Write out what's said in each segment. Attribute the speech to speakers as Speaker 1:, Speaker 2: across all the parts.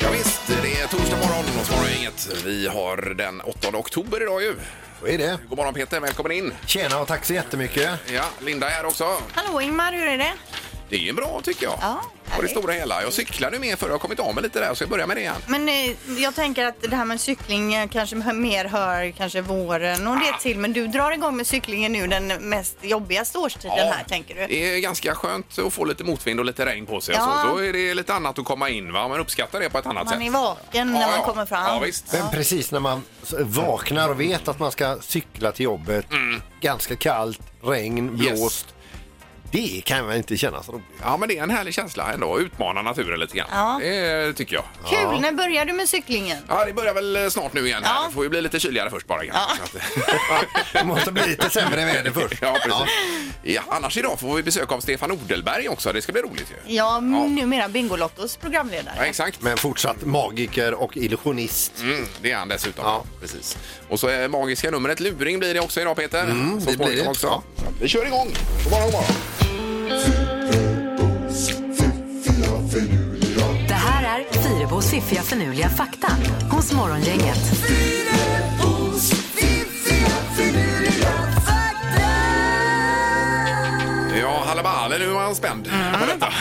Speaker 1: Ja, visst, det är torsdag morgon hos Morgongänget. Vi har den 8 oktober idag ju.
Speaker 2: Så är det.
Speaker 1: God morgon Peter, välkommen in.
Speaker 2: Tjena och tack så jättemycket.
Speaker 1: Ja, Linda är här också.
Speaker 3: Hallå Ingmar, hur är det?
Speaker 1: Det är ju bra tycker jag.
Speaker 3: Ja,
Speaker 1: På det
Speaker 3: härligt.
Speaker 1: stora hela. Jag cyklade mer förr, jag har kommit av mig lite där så jag börjar med det igen.
Speaker 3: Men eh, jag tänker att det här med cykling eh, kanske hö- mer hör kanske våren och det till. Men du drar igång med cyklingen nu den mest jobbigaste årstiden här tänker du.
Speaker 1: Det är ganska skönt att få lite motvind och lite regn på sig. och
Speaker 3: Ja.
Speaker 1: Så. Då är det lite annat att komma in va. Man uppskattar det på ett annat sätt.
Speaker 3: Man är vaken när man kommer fram.
Speaker 1: Ja, visst.
Speaker 2: Men precis när man s- vaknar och vet att man ska cykla till jobbet, ganska kallt, regn,
Speaker 1: Mm. Yes.
Speaker 2: blåst. Det kan väl inte kännas roligt?
Speaker 1: Ja, men det är en härlig känsla ändå. Utmana naturen lite grann.
Speaker 3: Ja.
Speaker 1: Det tycker jag.
Speaker 3: Kul, när börjar du med cyklingen?
Speaker 1: Ja, det börjar väl snart nu igen. Här.
Speaker 3: Ja.
Speaker 1: Det får ju bli lite kyligare först bara. Ja.
Speaker 2: Det måste bli lite sämre väder först.
Speaker 1: Ja, precis. Ja, annars idag får vi besök av Stefan Odelberg också. Det ska bli roligt ju.
Speaker 3: Ja, m- numera Bingolottos programledare.
Speaker 1: Ja, exakt.
Speaker 2: Men fortsatt magiker och illusionist.
Speaker 1: Mm, det är han dessutom.
Speaker 2: Ja.
Speaker 1: Precis. Och så är magiska numret luring blir det också idag Peter. Mm,
Speaker 2: det blir det.
Speaker 1: Också.
Speaker 2: Ja.
Speaker 1: Vi kör igång. God morgon, god morgon.
Speaker 4: Det här är Fyrebos fiffiga förnuliga fakta hos Morgongänget.
Speaker 1: Ja, Hallabale, nu är han spänd på detta.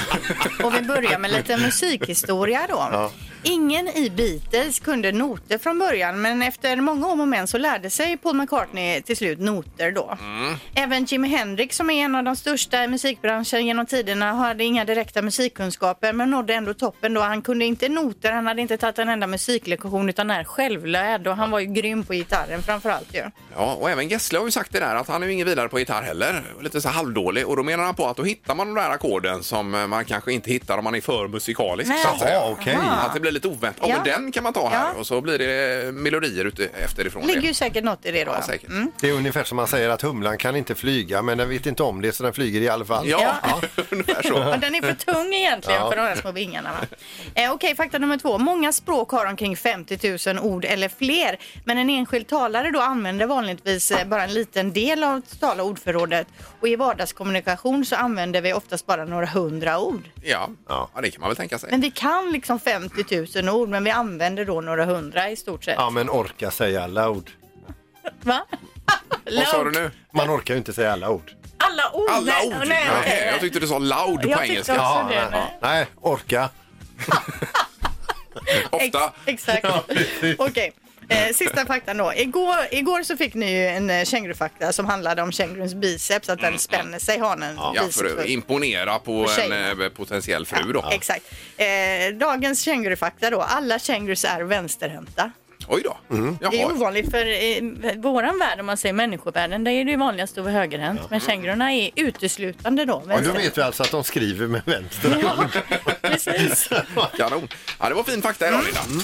Speaker 3: Och vi börjar med lite musikhistoria då. Ingen i Beatles kunde noter från början men efter många om och men så lärde sig Paul McCartney till slut noter då.
Speaker 1: Mm.
Speaker 3: Även Jimi Hendrix som är en av de största i musikbranschen genom tiderna hade inga direkta musikkunskaper men nådde ändå toppen då. Han kunde inte noter, han hade inte tagit en enda musiklektion utan är självlärd och han var ju grym på gitarren framförallt ju.
Speaker 1: Ja, och även Gessle har ju sagt det där att han är ju ingen vidare på gitarr heller. Lite så här halvdålig. Och då menar han på att då hittar man de där ackorden som eh, man kanske inte hittar om man är för musikalisk.
Speaker 3: Nej.
Speaker 1: så att säga.
Speaker 2: Jaha, okej.
Speaker 1: Att det blir lite oväntat. Ja,
Speaker 3: Ja.
Speaker 1: men den kan man ta här.
Speaker 3: Ja.
Speaker 1: Och så blir det melodier ut efterifrån.
Speaker 3: ligger ju säkert något i det då.
Speaker 1: Ja, säkert.
Speaker 2: Det är ungefär som man säger att humlan kan inte flyga men den vet inte om det så den flyger i alla fall.
Speaker 1: Ja,
Speaker 3: Ja.
Speaker 1: ungefär
Speaker 3: Ja,
Speaker 1: så.
Speaker 3: den är för tung egentligen för de här små vingarna. Va? Eh, Okej, fakta nummer två. Många språk har omkring 50 000 ord eller fler. Men en enskild talare då använder vanligtvis eh, bara en liten del av totala ordförrådet. Och i vardagskommunikation så använder vi oftast bara några hundra ord.
Speaker 1: Ja. ja, det kan man väl tänka sig.
Speaker 3: Men vi kan liksom 50 000 ord, men vi använder då några hundra i stort sett.
Speaker 2: Ja men orka säga alla ord.
Speaker 3: Va?
Speaker 1: Vad sa du
Speaker 3: Loud.
Speaker 1: nu?
Speaker 2: Man orkar ju inte säga alla ord.
Speaker 3: Alla ord!
Speaker 1: Alla
Speaker 3: nej,
Speaker 1: ord?
Speaker 3: nej,
Speaker 1: Nej,
Speaker 3: nej.
Speaker 1: Jag tyckte du sa loud på
Speaker 3: Jag tyckte
Speaker 1: engelska.
Speaker 3: också
Speaker 1: Ja,
Speaker 3: det,
Speaker 2: nej.
Speaker 3: nej.
Speaker 2: nej, orka.
Speaker 1: Ofta.
Speaker 3: Ex exakt. Okej. Eh, sista faktan då. Igår, igår så fick ni ju en eh, kängurufakta som handlade om kängurus biceps, att den spänner sig, hanen.
Speaker 1: Mm. Ja,
Speaker 3: biceps.
Speaker 1: för att imponera på
Speaker 3: För
Speaker 1: en
Speaker 3: tjejerna.
Speaker 1: eh, potentiell fru då.
Speaker 3: Exakt. Eh, dagens kängurufakta då. Alla kängurus är vänsterhänta.
Speaker 1: Oj då.
Speaker 3: Det är
Speaker 1: Jaha.
Speaker 3: ovanligt för i våran värld, om man säger människovärlden, där är det ju vanligast att vara högerhänt. Men kängurorna är uteslutande då
Speaker 2: Och då
Speaker 3: vänsterhänta.
Speaker 2: vet vi alltså att de skriver med vänster.
Speaker 3: Ja, precis.
Speaker 1: Kanon. Ja, det var fin fakta idag, Linda.
Speaker 3: Mm.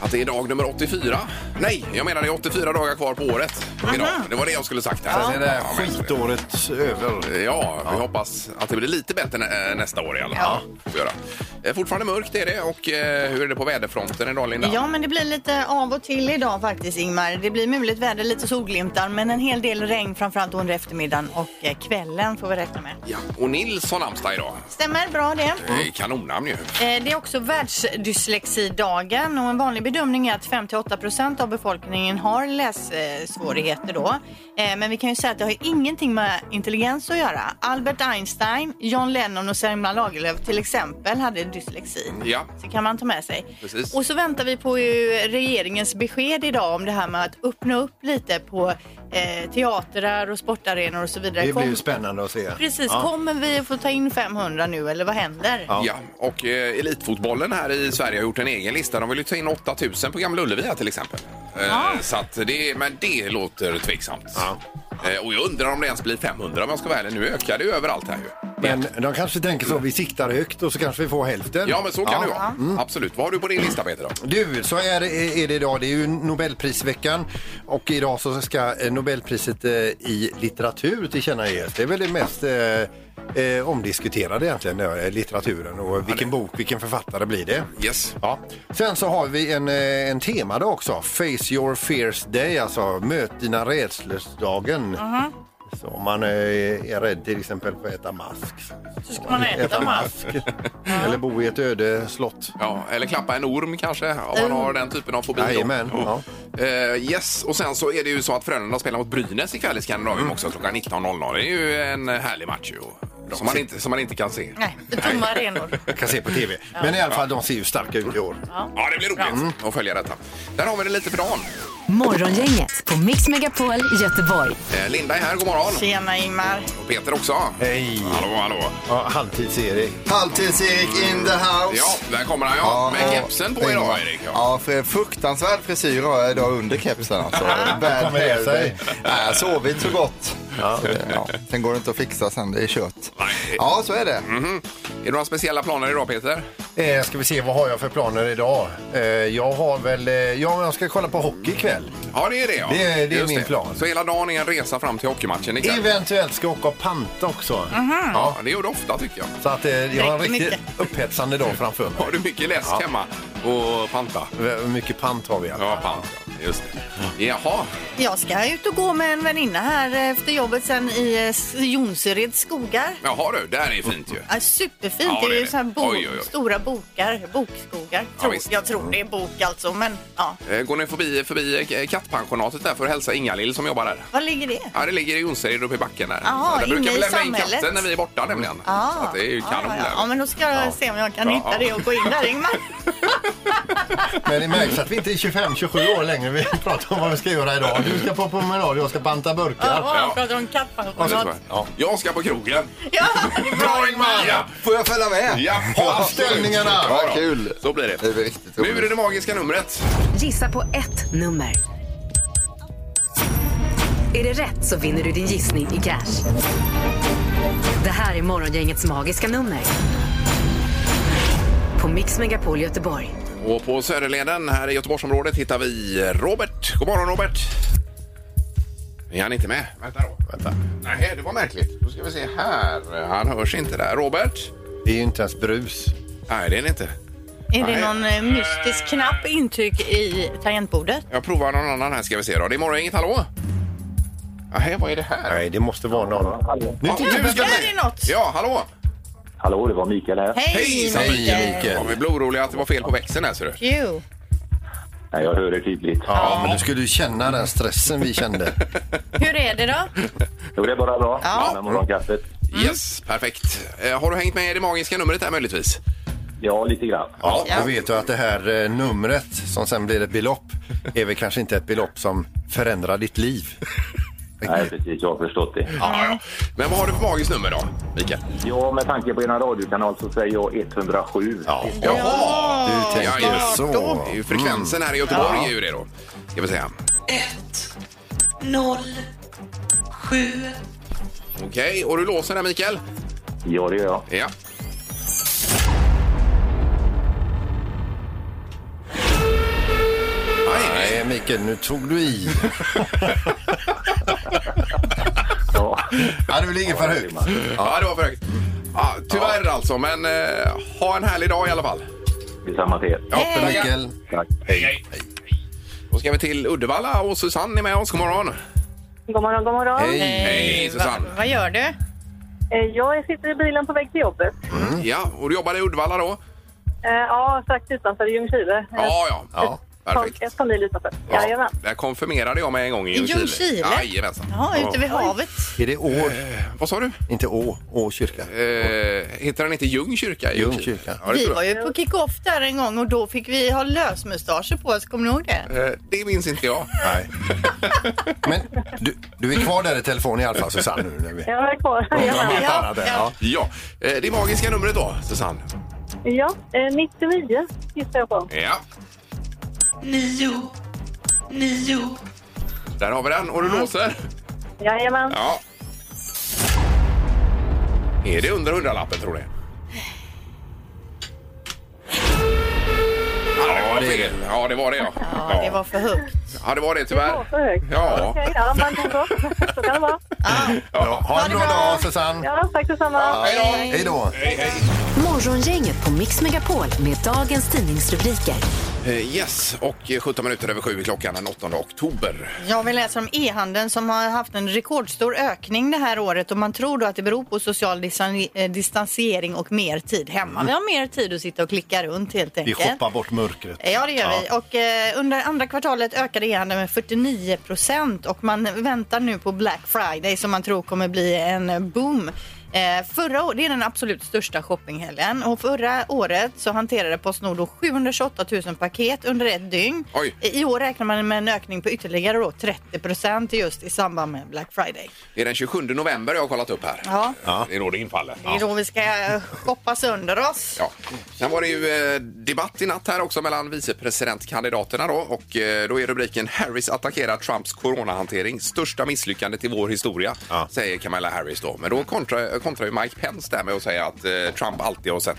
Speaker 1: Att det är dag nummer 84. Nej, jag menar det är 84 dagar kvar på året. Idag. Det var det jag skulle sagt. Här.
Speaker 2: Sen Alltså, är det här
Speaker 1: Ja, men-
Speaker 2: skitåret över.
Speaker 1: Ja, vi hoppas att det blir lite bättre nä- eh, nästa år i alla fall. Får vi göra. Eh, Fortfarande mörkt är det och eh, hur är det på väderfronten idag Linda?
Speaker 3: Ja, men det blir lite av och till idag faktiskt, Ingmar. Det blir muligt väder, lite solglimtar, men en hel del regn framförallt under eftermiddagen och eh, kvällen får vi räkna med.
Speaker 1: Ja, och Nils har namnsdag idag.
Speaker 3: Stämmer bra det.
Speaker 1: Eh, Kanonnamn ju.
Speaker 3: Eh, Det är också världsdyslexidagen och en vanlig bedömning är att 5-8% av befolkningen har lässvårigheter då. Eh, Men vi kan ju säga att det har ju ingenting med intelligens att göra. Albert Einstein, John Lennon och Selma Lagerlöf till exempel hade dyslexi.
Speaker 1: Ja.
Speaker 3: Så kan man ta med sig.
Speaker 1: Precis.
Speaker 3: Och så väntar vi på ju regeringens besked idag om det här med att öppna upp lite på eh, teatrar och sportarenor och så vidare.
Speaker 2: Det blir
Speaker 3: Kom-
Speaker 2: ju spännande att se.
Speaker 3: Precis, kommer vi att få ta in 500 nu eller vad händer?
Speaker 1: Ja. och eh, elitfotbollen här i Sverige har gjort en egen lista. De vill ju ta in 8000 på Gamla Ullevi här till exempel. Eh, Så att det, men det låter tveksamt. Eh, och jag undrar om det ens blir 500 om jag ska vara ärlig. Nu ökar det ju överallt här ju.
Speaker 2: Men de kanske tänker så, vi siktar högt och så kanske vi får hälften.
Speaker 1: Ja, Mm. men så kan det vara. Absolut. Vad har du på din lista, Peter? Då?
Speaker 2: Du, så är, är det idag. Det är ju Nobelprisveckan och idag så ska eh, Nobelpriset eh, i litteratur tillkännages. Det är väl det mest eh, eh, omdiskuterade egentligen, eh, litteraturen och vilken bok, vilken författare blir det?
Speaker 1: Yes.
Speaker 2: Ja. Sen så har vi en, eh, en temadag också, Face your fears day, alltså möt dina rädslors-dagen. Så om man eh, är rädd till exempel för att äta mask.
Speaker 3: Så ska man äta mask.
Speaker 2: Eller bo i ett öde slott.
Speaker 1: Ja, eller klappa en orm kanske, om man har den typen av fobi. då.
Speaker 2: Jajamän, ja.
Speaker 1: Eh, yes, och sen så är det ju så att Frölunda spelar mot Brynäs ikväll i Skandinavien
Speaker 2: Mm.
Speaker 1: också klockan 19.00. Det är ju en härlig match ju, och- som man inte, som man inte kan se.
Speaker 3: Nej, det är tomma arenor.
Speaker 2: Jag kan se på tv. Men i alla fall, de ser ju starka ut i år.
Speaker 1: Ja, det blir roligt
Speaker 2: Mm.
Speaker 1: att följa detta. Där har vi det lite för dagen.
Speaker 4: Morgongänget på Mix Megapol Göteborg.
Speaker 1: Eh, Linda är här, god morgon.
Speaker 3: Tjena Ingmar.
Speaker 1: Och Peter också.
Speaker 2: Hej!
Speaker 1: Hallå, hallå.
Speaker 2: Ja, Halvtids-Erik.
Speaker 5: Halvtids-Erik in the house.
Speaker 1: Ja, där kommer han ja. Med kepsen på idag, Erik. Ja.
Speaker 5: Ja, för fruktansvärd frisyr har jag idag under kepsen alltså. Bad
Speaker 2: kommer det
Speaker 5: hair
Speaker 2: sig?
Speaker 5: day. Nej, jag har sovit så gott. Så det, ja. Sen går det inte att fixa sen, det är kört. Ja, så är det.
Speaker 1: Är det några speciella planer idag, Peter?
Speaker 2: Eh, ska vi se, vad har jag för planer idag? Eh, jag har väl... Eh, ja, jag ska kolla på hockey ikväll.
Speaker 1: Ja, det är det. Ja.
Speaker 2: Det är- det är
Speaker 1: Just
Speaker 2: min plan.
Speaker 1: Så hela dagen är en resa fram till hockeymatchen ikväll?
Speaker 2: Eventuellt ska jag åka och panta också.
Speaker 5: Mhm.
Speaker 1: Ja, det gör du ofta tycker jag.
Speaker 2: Så att eh, jag har en
Speaker 3: Dricker
Speaker 2: riktigt upphetsande dag framför mig.
Speaker 1: Har du mycket läsk hemma och panta?
Speaker 2: Hur mycket pant har vi? Alltså.
Speaker 1: Ja, pant. ja. Just det. Jaha.
Speaker 3: Jag ska ut och gå med en väninna här eh, efter jobbet sen i eh, S- Jonsereds skogar.
Speaker 1: Jaha du, det här är fint ju.
Speaker 3: Ja, superfint. det,
Speaker 1: Ja, det är
Speaker 3: är ju
Speaker 1: det.
Speaker 3: så här bo-
Speaker 1: Oj, oj, oj.
Speaker 3: stora bokar, bokskogar.
Speaker 1: Ja,
Speaker 3: Tror,
Speaker 1: visst.
Speaker 3: jag tror det är bok alltså, men ja.
Speaker 1: Eh, Går ni förbi, förbi eh, kattpensionatet där för att hälsa Ingalill som jobbar där?
Speaker 3: Var ligger det?
Speaker 1: Ja, det ligger i Jonsered uppe i backen där.
Speaker 3: Jaha,
Speaker 1: där brukar
Speaker 3: inne
Speaker 1: vi
Speaker 3: i
Speaker 1: lämna in
Speaker 3: samhället.
Speaker 1: katten när vi är borta nämligen. Så att det är ju
Speaker 3: Ja,
Speaker 1: kanon
Speaker 3: ja,
Speaker 1: där.
Speaker 3: ja. ja, men då ska jag se om jag kan
Speaker 1: Ja,
Speaker 3: hitta
Speaker 1: ja.
Speaker 3: det och gå in där, Ingmar.
Speaker 2: Men det märks att vi inte är 25-27 år längre. Vi pratar om vad vi ska göra idag. Du ska på promenad, jag ska panta burkar.
Speaker 3: Ja, jag pratar om kattpensionat.
Speaker 1: Ja. Jag ska på krogen.
Speaker 3: Ja, det är bra.
Speaker 1: Ja,
Speaker 5: Får jag följa med?
Speaker 1: ja, absolut.
Speaker 2: ställningarna.
Speaker 1: Ja,
Speaker 5: Vad
Speaker 1: då.
Speaker 5: kul.
Speaker 1: Så blir det.
Speaker 5: Det blir riktigt
Speaker 1: Nu är det
Speaker 5: roligt.
Speaker 1: det magiska numret.
Speaker 4: Gissa på ett nummer. Är det rätt så vinner du din gissning i cash. Det här är Morgongängets magiska nummer. På Mix Megapol Göteborg.
Speaker 1: Och på Söderleden här i Göteborgsområdet hittar vi Robert. God morgon Robert! Är han inte med? Vänta då. Vänta. Nej, det var märkligt. Då ska vi se här. Han hörs inte där. Robert?
Speaker 2: Det är ju inte ens brus.
Speaker 1: Nej, det är det inte.
Speaker 3: Är
Speaker 1: Nej.
Speaker 3: det någon eh, mystisk knapp intryck i tangentbordet?
Speaker 1: Jag provar någon annan här ska vi se då. Det är morgon, inget hallå? Nej, vad är det här?
Speaker 2: Nej, det måste vara någon. Nu
Speaker 1: Ja, nu ska
Speaker 3: Där
Speaker 1: vi-
Speaker 3: är det något.
Speaker 1: Ja, hallå!
Speaker 6: Hallå, det var Mikael här.
Speaker 3: Hej,
Speaker 1: Hejsan,
Speaker 3: Mikael!
Speaker 1: Ja, vi blev oroliga att det var fel på växeln här ser du.
Speaker 3: Jo.
Speaker 6: Nej, jag hör er tydligt.
Speaker 2: Ja, men du skulle ju känna den stressen vi kände.
Speaker 3: Hur är det då?
Speaker 6: Jo, det är bara bra.
Speaker 3: Ja.
Speaker 6: Med morgonkaffet.
Speaker 3: Mm.
Speaker 1: Yes, perfekt. Eh, har du hängt med i det magiska numret här möjligtvis?
Speaker 6: Ja, lite grann.
Speaker 2: Ja,
Speaker 3: Ja.
Speaker 2: då vet du att det här eh, numret som sen blir ett belopp är väl kanske inte ett belopp som förändrar ditt liv.
Speaker 6: Nej, precis. Jag har förstått det.
Speaker 1: Ja, ja. Men vad har du för magiskt nummer då, Mikael?
Speaker 6: Ja, med tanke på er radiokanal så säger jag 107.
Speaker 2: Ja,
Speaker 1: Jaha!
Speaker 2: du tänker
Speaker 1: Ja, ja.
Speaker 2: så. Mm.
Speaker 1: Det är ju frekvensen här i Göteborg är ju det då. Ska vi säga.
Speaker 7: 0, 7,
Speaker 1: Okej, och du låser den Mikael?
Speaker 6: Ja, det gör jag.
Speaker 1: Ja. Nej,
Speaker 2: Nej, Eh, Mikael, nu tog du i.
Speaker 6: Ja.
Speaker 2: Ja, det blir inget för högt.
Speaker 1: ja, det var för högt. Ja, tyvärr alltså, men eh, ha en härlig dag i alla fall.
Speaker 6: Detsamma till er.
Speaker 2: Toppen, Mikael.
Speaker 6: Tack.
Speaker 1: Hej. Då ska vi till Uddevalla och Susanne är med oss. God morgon.
Speaker 8: God morgon, god morgon.
Speaker 2: Hej.
Speaker 1: Hej, Susanne.
Speaker 3: Va, vad gör du?
Speaker 8: Eh, Jag sitter i bilen på väg till jobbet.
Speaker 1: Ja, och du jobbar i Uddevalla då?
Speaker 8: Eh, Ja, strax utanför Ljungskile. Eh,
Speaker 1: Ja, ja. ja. Perfekt.
Speaker 8: Ett par mil utanför.
Speaker 1: Ja,
Speaker 8: Jajamän.
Speaker 1: där konfirmerade jag mig en gång i
Speaker 3: I
Speaker 1: Ljungskile.
Speaker 3: Ljungskile?
Speaker 1: Jajamensan. Eh,
Speaker 3: Ja, ute vid havet.
Speaker 2: Är det Å?
Speaker 1: Vad sa du?
Speaker 2: Inte Å, Å kyrka.
Speaker 1: Eh, heter den inte Ljung kyrka? i
Speaker 2: Ljung
Speaker 1: Ljungskile?
Speaker 2: kyrka.
Speaker 1: Ja, det,
Speaker 3: Vi
Speaker 1: tror
Speaker 3: var
Speaker 1: jag.
Speaker 3: ju på kick-off där en gång och då fick vi ha lösmustascher på oss. Kommer ni ihåg det?
Speaker 1: Eh, det minns inte jag.
Speaker 2: Nej. Men du, du är kvar där i telefon i alla fall, Susanne. Nu när vi...
Speaker 8: Jag är kvar. Jajamän.
Speaker 2: Helt annat än, ja.
Speaker 1: Ja, eh, det magiska numret då, Susanne.
Speaker 8: Ja, eh, 99 gissar jag på.
Speaker 1: Ja,
Speaker 7: 9, 9.
Speaker 1: där har vi den. Och du låser?
Speaker 8: Jajamän.
Speaker 1: Ja. Är det under hundralappen tror du? Ja, det var det. Ja, det var det ja.
Speaker 3: Ja, det var för högt.
Speaker 1: Ja, det var det tyvärr.
Speaker 8: För högt.
Speaker 1: Ja.
Speaker 8: Okej, ja, man kan gå. Så kan det vara.
Speaker 2: Ja, ha en bra dag Susanne.
Speaker 8: Ja, tack detsamma.
Speaker 3: Eh,
Speaker 2: Hej då.
Speaker 4: Morgongänget på Mix Megapol med dagens tidningsrubriker.
Speaker 1: Eh, Yes, och eh, 17 minuter över sju är klockan den 8 oktober.
Speaker 3: Jag vill läsa om e-handeln som har haft en rekordstor ökning det här året och man tror då att det beror på social distan- eh, distansering och mer tid hemma. Vi har mer tid att sitta och klicka runt helt
Speaker 2: Vi
Speaker 3: enkelt.
Speaker 2: shoppar bort mörkret.
Speaker 3: Ja, det gör vi. Och eh, under andra kvartalet ökade e-handeln med 49 procent och man väntar nu på Black Friday som man tror kommer bli en boom. Eh, förra året, det är den absolut största shoppinghelgen och förra året så hanterade Postnord då 728 000 paket under ett dygn.
Speaker 1: Oj.
Speaker 3: I år räknar man med en ökning på ytterligare då 30 procent just i samband med Black Friday.
Speaker 1: Det är den 27 november jag har kollat upp här.
Speaker 3: Ja.
Speaker 1: Det är då det infaller.
Speaker 3: Det är då vi ska eh, shoppa sönder oss.
Speaker 1: Ja. Sen var det ju eh, debatt i natt här också mellan vicepresidentkandidaterna då och eh, då är rubriken Harris attackerar Trumps coronahantering. Största misslyckandet i vår historia, säger Kamala Harris då. Men då kontrar kontra ju Mike Pence där med att säga att eh, Trump alltid har sett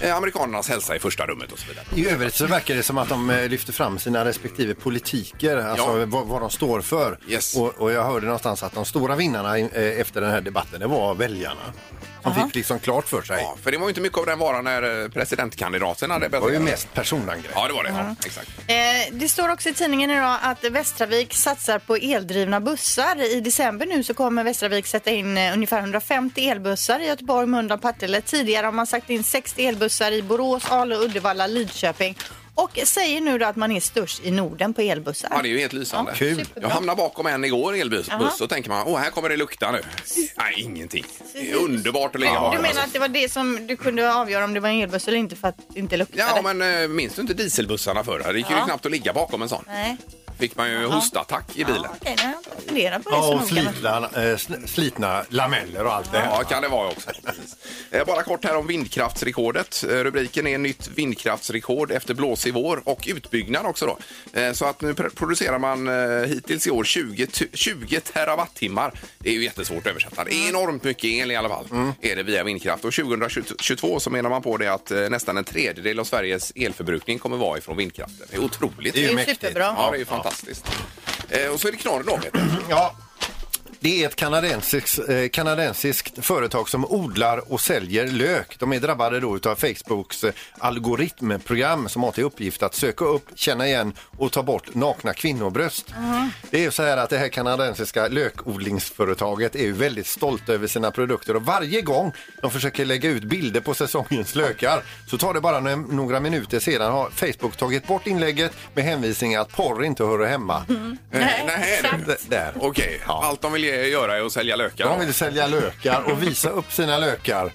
Speaker 1: eh, amerikanernas hälsa i första rummet och så vidare.
Speaker 2: I övrigt så verkar det som att de eh, lyfter fram sina respektive politiker, alltså
Speaker 1: Ja.
Speaker 2: vad, vad de står för.
Speaker 1: Yes.
Speaker 2: Och, och jag hörde någonstans att de stora vinnarna eh, efter den här debatten, det var väljarna. Som fick liksom klart för sig.
Speaker 1: Ja, för det var ju inte mycket av den varan när eh, presidentkandidaterna hade
Speaker 2: Det var ju mest personangrepp.
Speaker 1: Ja, det var det. Ja, exakt.
Speaker 3: Eh, Det står också i tidningen idag att Västravik satsar på eldrivna bussar. I december nu så kommer Västravik sätta in eh, ungefär 150 elbussar i Göteborg, Mölndal, Partille. Tidigare har man satt in 60 elbussar i Borås, Ale, Uddevalla, Lidköping och säger nu då att man är störst i Norden på elbussar.
Speaker 1: Ja, det är ju helt lysande.
Speaker 3: Ja,
Speaker 2: Kul.
Speaker 1: Jag hamnade bakom en igår elbuss
Speaker 3: Jaha.
Speaker 1: och tänker man, åh här kommer det lukta nu. Nej, ingenting. Det är underbart att ligga bakom.
Speaker 3: Du menar att det var det som du kunde avgöra om det var en elbuss eller inte för att det inte luktade?
Speaker 1: Ja, men eh, minns du inte dieselbussarna förr? Det gick ju
Speaker 3: Ja.
Speaker 1: knappt att ligga bakom en sån.
Speaker 3: Nej.
Speaker 1: Fick man ju hostattack i bilen.
Speaker 3: Okej, nej, jag funderar på det
Speaker 2: Ja,
Speaker 3: så
Speaker 2: och
Speaker 3: noga.
Speaker 2: slitna, eh, sl- slitna lameller och allt det här.
Speaker 1: Ja, kan det vara också. Precis. Eh, Bara kort här om vindkraftsrekordet. Eh, Rubriken är nytt vindkraftsrekord efter blåsig vår och utbyggnad också då. Eh, Så att nu pr- producerar man eh, hittills i år 20, tu- 20 terawattimmar. Det är ju jättesvårt att översätta. Det
Speaker 3: Mm.
Speaker 1: är enormt mycket el i alla fall. Är det via vindkraft. Och 2022 så menar man på det att eh, nästan en tredjedel av Sveriges elförbrukning kommer vara ifrån vindkraften. Det är otroligt.
Speaker 3: Det är ju
Speaker 2: mäktigt.
Speaker 3: superbra.
Speaker 1: Ja, det är ju fantastiskt. Eh, Och så är det knorren då, Peter.
Speaker 2: Ja. Det är ett kanadensiskt, eh, kanadensiskt företag som odlar och säljer lök. De är drabbade då utav Facebooks eh, algoritmprogram som har till uppgift att söka upp, känna igen och ta bort nakna kvinnobröst.
Speaker 1: Mm.
Speaker 2: Det är ju så här att det här kanadensiska lökodlingsföretaget är ju väldigt stolt över sina produkter och varje gång de försöker lägga ut bilder på säsongens lökar så tar det bara no- några minuter sedan har Facebook tagit bort inlägget med hänvisning att porr inte hör hemma.
Speaker 1: Mm.
Speaker 2: Eh,
Speaker 1: Nej, Nej exakt.
Speaker 2: D- där.
Speaker 1: Okej,
Speaker 2: Ja.
Speaker 1: allt de vill ge- göra är att sälja lökar.
Speaker 2: De vill sälja lökar och visa upp sina lökar.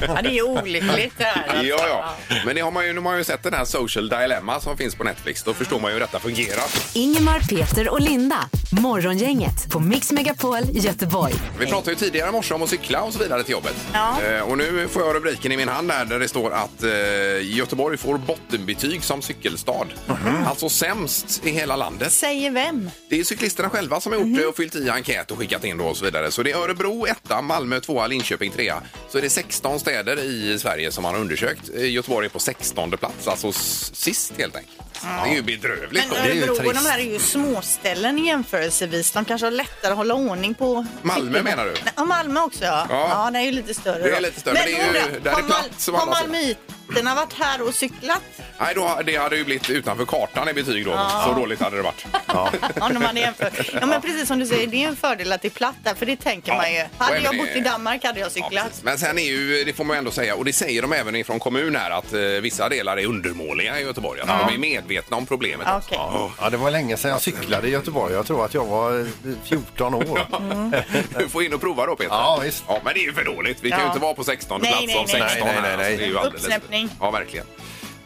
Speaker 3: Ja, det är ju olyckligt det här. alltså.
Speaker 1: Ja, ja. Men det har man ju, nu har man ju sett den här Social Dilemma som finns på Netflix. Då förstår man ju hur detta fungerar.
Speaker 4: Ingemar, Peter och Linda. Morgongänget på Mix Megapol Göteborg.
Speaker 1: Vi pratade ju tidigare i morse om att cykla och så vidare till jobbet.
Speaker 3: Ja.
Speaker 1: Eh, och nu får jag rubriken i min hand här där det står att eh, Göteborg får bottenbetyg som cykelstad. Alltså sämst i hela landet.
Speaker 3: Säger vem?
Speaker 1: Det är cyklisterna själva som har gjort det och fyllt i enkät och skickat in då och så vidare. Så det är Örebro etta, Malmö tvåa, Linköping trea. Så är det 16 städer i Sverige som man har undersökt. Eh, Göteborg är på 16 plats, alltså s- sist helt enkelt. Det är ju bedrövligt.
Speaker 3: Men eh,
Speaker 1: då.
Speaker 2: är ju
Speaker 3: Örebro och de
Speaker 2: trist.
Speaker 3: här är ju småställen jämförelsevis. De kanske har lättare att hålla ordning på...
Speaker 1: Malmö menar du?
Speaker 3: Ja, Malmö också ja.
Speaker 1: Ja.
Speaker 3: Ja, den är ju lite större.
Speaker 1: Det är
Speaker 3: då.
Speaker 1: lite större, men det är ju-
Speaker 3: undrar,
Speaker 1: där är
Speaker 3: har
Speaker 1: platt
Speaker 3: Mal-
Speaker 1: som
Speaker 3: Har
Speaker 1: alla säger.
Speaker 3: malmöiterna varit här och cyklat?
Speaker 1: Nej, då, det hade ju blivit utanför kartan i betyg då. Så dåligt hade det varit.
Speaker 3: Om de hade jämfört. Ja, men precis som du säger, det är ju en fördel att det är platt där, för det tänker
Speaker 1: Ja.
Speaker 3: man ju.
Speaker 1: Och
Speaker 3: Hade
Speaker 1: även
Speaker 3: jag
Speaker 1: det-
Speaker 3: bott i Danmark hade jag
Speaker 1: Ja,
Speaker 3: cyklat.
Speaker 1: precis. Men sen är ju, det får man ju ändå säga, och det säger de även ifrån kommun här, att eh, vissa delar är undermåliga i Göteborg. Alltså, De är medvetna om problemet.
Speaker 3: Ja,
Speaker 1: också.
Speaker 3: okej.
Speaker 1: Ja.
Speaker 2: Ja, det var länge sedan jag cyklade i Göteborg. Jag tror att jag var eh, 14 år.
Speaker 1: Du får in och prova då Peter.
Speaker 2: Ja, visst.
Speaker 1: Ja, men det är ju för dåligt. Vi kan ju
Speaker 3: Ja.
Speaker 1: inte vara på 16
Speaker 3: Nej,
Speaker 1: plats
Speaker 3: nej,
Speaker 1: av 16.
Speaker 3: nej.
Speaker 2: Nej, nej, nej,
Speaker 1: här.
Speaker 2: nej.
Speaker 1: Alltså, det är ju alldeles-
Speaker 3: Uppsnäppning.
Speaker 1: Ja, verkligen.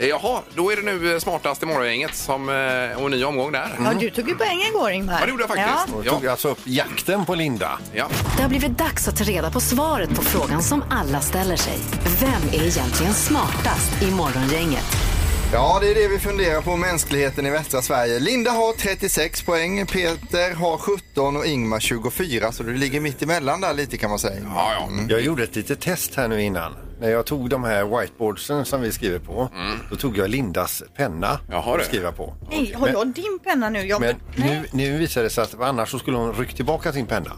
Speaker 1: Eh, Jaha, då är det nu eh, smartast i morgongänget som, eh, och en ny omgång där.
Speaker 3: Ja, du tog ju poäng igår Ingmar.
Speaker 1: Mm. Ja, det gjorde jag
Speaker 3: Mm. Ja.
Speaker 1: faktiskt.
Speaker 2: Jag tog alltså upp jakten på Linda.
Speaker 1: Ja.
Speaker 4: Det har blivit dags att ta reda på svaret på frågan som alla ställer sig. Vem är egentligen smartast i Morgongänget?
Speaker 5: Ja, det är det vi funderar på, mänskligheten i västra Sverige. Linda har 36 poäng, Peter har 17 och Ingmar 24, så du ligger mitt emellan där lite kan man säga.
Speaker 1: Ja, ja.
Speaker 2: Jag gjorde ett litet test här nu innan. När jag tog de här whiteboardsen som vi skriver på, då tog jag Lindas penna
Speaker 1: Mm. Jaha,
Speaker 2: att
Speaker 1: du.
Speaker 2: skriva på.
Speaker 3: Nej, har
Speaker 2: Men-
Speaker 3: jag din penna nu? Jag...
Speaker 2: Men
Speaker 3: Nej.
Speaker 2: nu, nu visar det sig att annars så skulle hon ryckt tillbaka sin penna.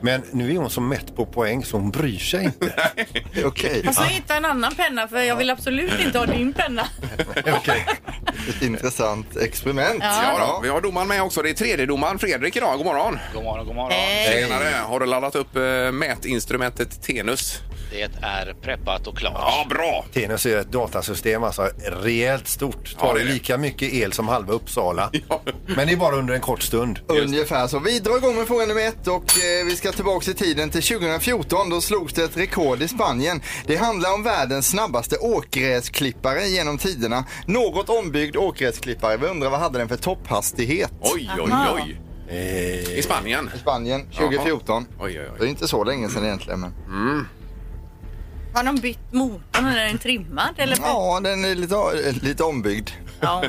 Speaker 2: Men nu är hon så mätt på poäng så hon bryr sig inte.
Speaker 5: Okej.
Speaker 3: Alltså, jag hittade en annan penna för jag vill absolut inte ha din penna.
Speaker 5: Ett intressant experiment.
Speaker 3: Ja.
Speaker 1: Ja, då. Vi har domaren med också. Det är tredje domaren Fredrik idag. God morgon. God morgon, god morgon.
Speaker 3: Hej.
Speaker 1: Tjenare. Har du laddat upp eh, mätinstrumentet Tenus? Det är preppat och klart. Ja, bra.
Speaker 2: Tenus är ett datasystem, alltså rejält stort. Tar
Speaker 5: Ja, det är det.
Speaker 2: lika mycket el som halva Uppsala. Men det är bara under en kort stund.
Speaker 5: Ungefär så. Vi drar igång med fråga nummer ett och eh, vi ska tillbaka i tiden till 2014. Då slogs det ett rekord i Spanien. Det handlar om världens snabbaste åkgräsklippare genom tiderna. Något ombyggd åkgräsklippare. Vi undrar vad hade den för topphastighet?
Speaker 1: Oj, oj, Aha. oj.
Speaker 2: Eh,
Speaker 1: I Spanien?
Speaker 5: I Spanien, 2014.
Speaker 1: Oj, oj, oj.
Speaker 5: Det är inte så länge sedan egentligen. Men...
Speaker 3: Mm. Har de bytt motorn? Är den trimmad? Eller?
Speaker 5: Ja, den är lite, eh, lite ombyggd.
Speaker 3: Ja,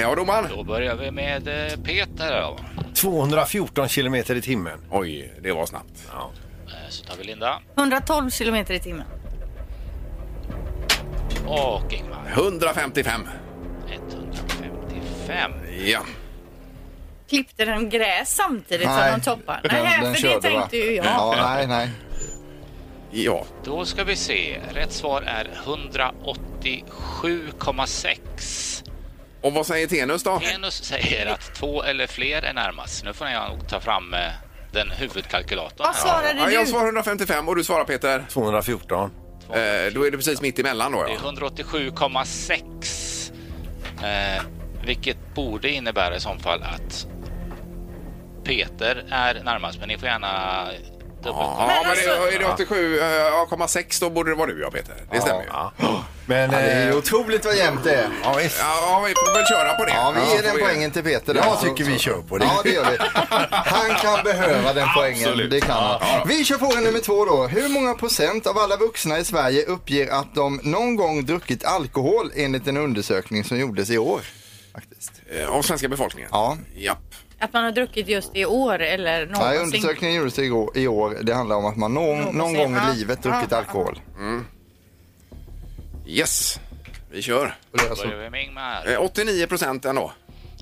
Speaker 1: Ja, domaren.
Speaker 9: Då börjar vi med eh, Peter. Då.
Speaker 2: 214 kilometer i timmen.
Speaker 1: Oj, det var snabbt.
Speaker 9: Eh, Så tar vi Linda
Speaker 3: 112 kilometer i timmen.
Speaker 9: och Ingmar.
Speaker 1: 155.
Speaker 9: 155.
Speaker 1: Ja.
Speaker 3: Klippte den gräs samtidigt som de toppar? Nej, för det tänkte ju jag.
Speaker 5: nej.
Speaker 1: Ja.
Speaker 9: Då ska vi se. Rätt svar är 187,6.
Speaker 1: Och vad säger Tenus då?
Speaker 9: Tenus säger att två eller fler är närmast. Nu får jag nog ta fram eh, den huvudkalkylatorn. här.
Speaker 1: ja, Jag svarar 155 och du svarar Peter?
Speaker 2: 214.
Speaker 1: Eh, då är det precis mitt emellan då.
Speaker 9: Det är
Speaker 1: Ja.
Speaker 9: 187,6. Eh, vilket borde innebära i så fall att Peter är närmast, men ni får gärna
Speaker 1: Ja,
Speaker 9: dubbelkolla.
Speaker 1: men alltså- det, är det 87, eh, ja, 0,6 då borde det vara du ja Peter. Det stämmer ju. Ja,
Speaker 2: Men,
Speaker 5: Ja, det är
Speaker 2: eh,
Speaker 5: otroligt vad jämnt det är.
Speaker 2: Ja, visst.
Speaker 1: ja, vi får väl köra på det.
Speaker 5: Ja, vi
Speaker 1: så
Speaker 5: ger
Speaker 1: får
Speaker 5: den poängen till Peter. där.
Speaker 2: Jag
Speaker 5: Så-
Speaker 2: tycker vi
Speaker 5: så-
Speaker 2: kör på det.
Speaker 5: Ja, det gör vi. Han kan behöva den poängen.
Speaker 2: Absolut.
Speaker 5: Det kan han.
Speaker 2: Ja.
Speaker 5: Vi kör fråga nummer två då. Hur många procent av alla vuxna i Sverige uppger att de någon gång druckit alkohol enligt en undersökning som gjordes i år?
Speaker 1: Eh, Av svenska befolkningen?
Speaker 5: Ja.
Speaker 1: ja.
Speaker 3: Att man har druckit just i år eller
Speaker 5: Nej,
Speaker 3: någonsin.
Speaker 5: undersökningen gjordes igår, i år. Det handlar om att man någon, någon
Speaker 3: Någonsin,
Speaker 5: gång
Speaker 3: ja.
Speaker 5: i livet druckit
Speaker 3: Ja.
Speaker 5: alkohol.
Speaker 1: Yes, vi kör.
Speaker 9: Då börjar vi med Ingmar.
Speaker 1: Eh, 89 procent ändå.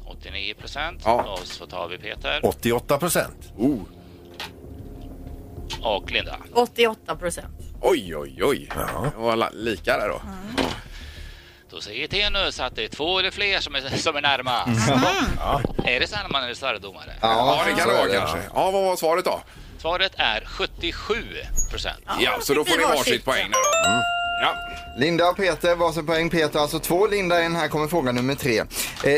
Speaker 9: 89 procent.
Speaker 1: Ja.
Speaker 9: Och så tar vi Peter
Speaker 2: 88 procent.
Speaker 1: Oh.
Speaker 9: och Linda.
Speaker 3: 88 procent.
Speaker 1: Oj, oj, oj. Det var la- lika där då.
Speaker 9: Då säger Tenus att det är två eller fler som är, som är närmast. Är det så här när man är slarvdomare?
Speaker 1: Mm. Ja, det kan det vara kanske. Ja, vad var svaret då?
Speaker 9: Svaret är 77 procent.
Speaker 1: Ja, så då får ni varsitt poäng där då. Ja.
Speaker 5: Linda och Peter, varsin poäng. Peter alltså två, Linda en. Här kommer fråga nummer tre. Eh,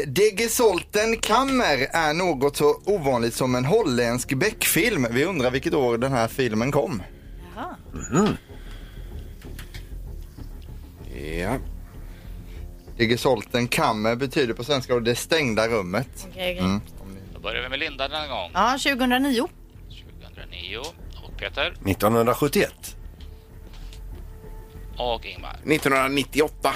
Speaker 5: Det Gesolten Kammer är något så ovanligt som en holländsk Beck-film. Vi undrar vilket år den här filmen kom.
Speaker 1: Ja.
Speaker 5: Det Gesolten Kammer betyder på svenska då det stängda rummet.
Speaker 3: Okej, okej.
Speaker 5: Mm.
Speaker 9: Då börjar vi med Linda den här gången.
Speaker 3: Ja, 2009.
Speaker 9: 2009 och Peter
Speaker 2: 1971.
Speaker 9: och Ingmar.
Speaker 1: 1998.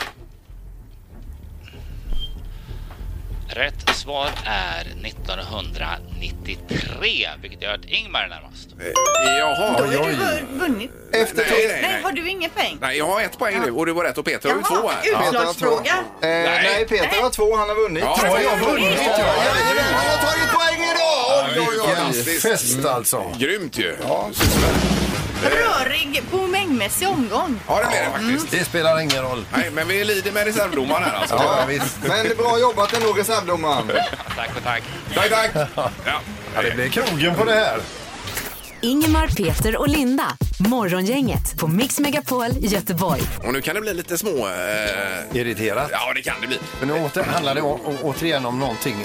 Speaker 9: Rätt svar är 1993, vilket gör att Ingmar är närmast.
Speaker 1: Eh, Jaha.
Speaker 3: Då har du vu- vunnit.
Speaker 5: Efter
Speaker 1: nej,
Speaker 5: nej,
Speaker 1: nej, nej.
Speaker 3: har du ingen poäng?
Speaker 1: Nej, jag har ett poäng nu och det var rätt och Peter har ju
Speaker 3: Jaha,
Speaker 1: två här.
Speaker 3: ut-
Speaker 5: Peter har två.
Speaker 3: Utslagsfråga.
Speaker 5: Eh, nej, Peter har två. Han har vunnit.
Speaker 1: Ja, har jag vunnit?
Speaker 5: Ja, jajamän, han har tagit poäng idag! Oj, oj, oj.
Speaker 2: Vilken
Speaker 5: Mm.
Speaker 2: fest alltså.
Speaker 1: Grymt ju. Ja,
Speaker 3: Rörig på mängdmässig omgång.
Speaker 1: ja det blev det faktiskt.
Speaker 2: Det spelar ingen roll.
Speaker 1: Nej, men vi lider med reservdomaren här alltså.
Speaker 2: Ja, visst.
Speaker 5: Men det är bra jobbat ändå, reservdomaren.
Speaker 9: Tack och tack.
Speaker 1: Tack, tack. Ja.
Speaker 2: Ja, det blir krogen på det här.
Speaker 4: Ingemar, Peter och Linda. Morgongänget på Mix Megapol Göteborg.
Speaker 1: Och nu kan det bli lite små... Eh...
Speaker 2: Irriterat.
Speaker 1: Ja, det kan det bli.
Speaker 2: Men nu åter, handlar det å, å, återigen om någonting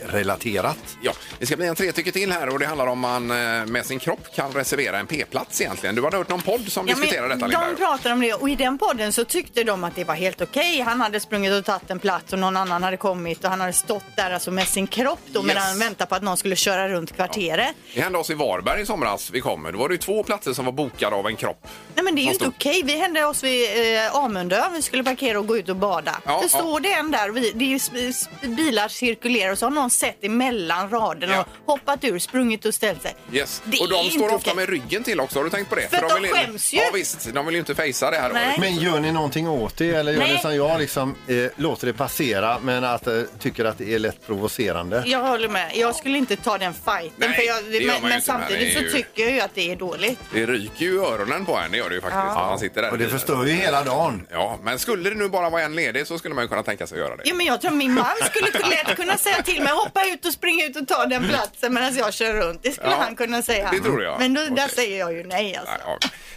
Speaker 2: trafikrelaterat.
Speaker 1: Ja, det ska bli en tre tycker till här och det handlar om man eh, med sin kropp kan reservera en p-plats egentligen. Du hade hört någon podd som diskuterar detta
Speaker 3: de
Speaker 1: Lindberg?
Speaker 3: pratade om det och i den podden så tyckte de att det var helt okej. Han hade sprungit och tagit en plats och någon annan hade kommit och han hade stått där alltså med sin kropp då
Speaker 1: Yes.
Speaker 3: medan han väntade på att någon skulle köra runt kvarteret.
Speaker 1: Det hände oss i Varberg i somras vi kom, då var det ju två platser som var bokade av en kropp.
Speaker 3: Nej men det är ju
Speaker 1: Vad
Speaker 3: inte okej. Vi hände oss vid eh, Amundö. Vi skulle parkera och gå ut och bada.
Speaker 1: Ja,
Speaker 3: så
Speaker 1: ja.
Speaker 3: står det en där. och Vi, det är ju sp- sp- bilar cirkulerar och så har någon sett emellan raderna
Speaker 1: Ja.
Speaker 3: och hoppat ur, sprungit och ställt sig.
Speaker 1: Yes.
Speaker 3: Det
Speaker 1: och
Speaker 3: är
Speaker 1: de
Speaker 3: inte
Speaker 1: står ofta
Speaker 3: okej.
Speaker 1: med ryggen till också, har du tänkt på det?
Speaker 3: För att de
Speaker 1: vill,
Speaker 3: skäms ju.
Speaker 1: Ja visst, de vill ju inte fejsa det här.
Speaker 3: Nej.
Speaker 1: året.
Speaker 2: Men gör ni någonting åt det eller gör
Speaker 3: Nej.
Speaker 2: ni som jag liksom eh, låter det passera men att eh, tycker att det är lätt provocerande?
Speaker 3: Jag håller med. Jag skulle inte ta den fighten.
Speaker 1: Nej,
Speaker 3: för jag,
Speaker 1: det
Speaker 3: men
Speaker 1: gör man ju
Speaker 3: men
Speaker 1: inte, men
Speaker 3: samtidigt
Speaker 1: det är
Speaker 3: så
Speaker 1: ju-
Speaker 3: tycker jag ju att det är dåligt.
Speaker 1: Det ryker ju i öronen på en, det gör det ju faktiskt.
Speaker 3: Ja.
Speaker 1: när Man sitter där.
Speaker 2: Och det förstör ju hela dagen.
Speaker 1: Ja, men skulle det nu bara vara en ledig så skulle man ju kunna tänka sig att göra det.
Speaker 3: Ja, men jag tror min man skulle lätt kunna säga till mig hoppa ut och springa ut och ta den platsen medan jag kör runt. Det skulle
Speaker 1: Mm. Ja,
Speaker 3: han kunna säga.
Speaker 1: det tror jag.
Speaker 3: Men då, där
Speaker 1: Okej.
Speaker 3: säger jag ju nej alltså.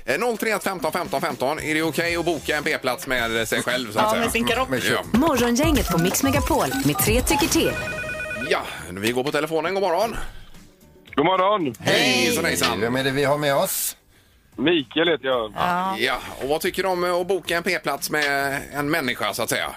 Speaker 1: Ja. Eh, 031 15 15 15. Är det okej att boka en p-plats med sig själv? Så att
Speaker 3: Ja,
Speaker 1: säga?
Speaker 3: med sin kropp.
Speaker 1: Mm, Ja.
Speaker 4: Morgongänget på Mix Megapol med tre tycker till.
Speaker 1: ja, vi går på telefonen. God morgon!
Speaker 10: God morgon!
Speaker 1: Hejsan hejsan!
Speaker 2: Vem är det vi har med oss?
Speaker 10: Mikael heter jag.
Speaker 1: Ja. och vad tycker du om eh, att boka en p-plats med en människa så att säga?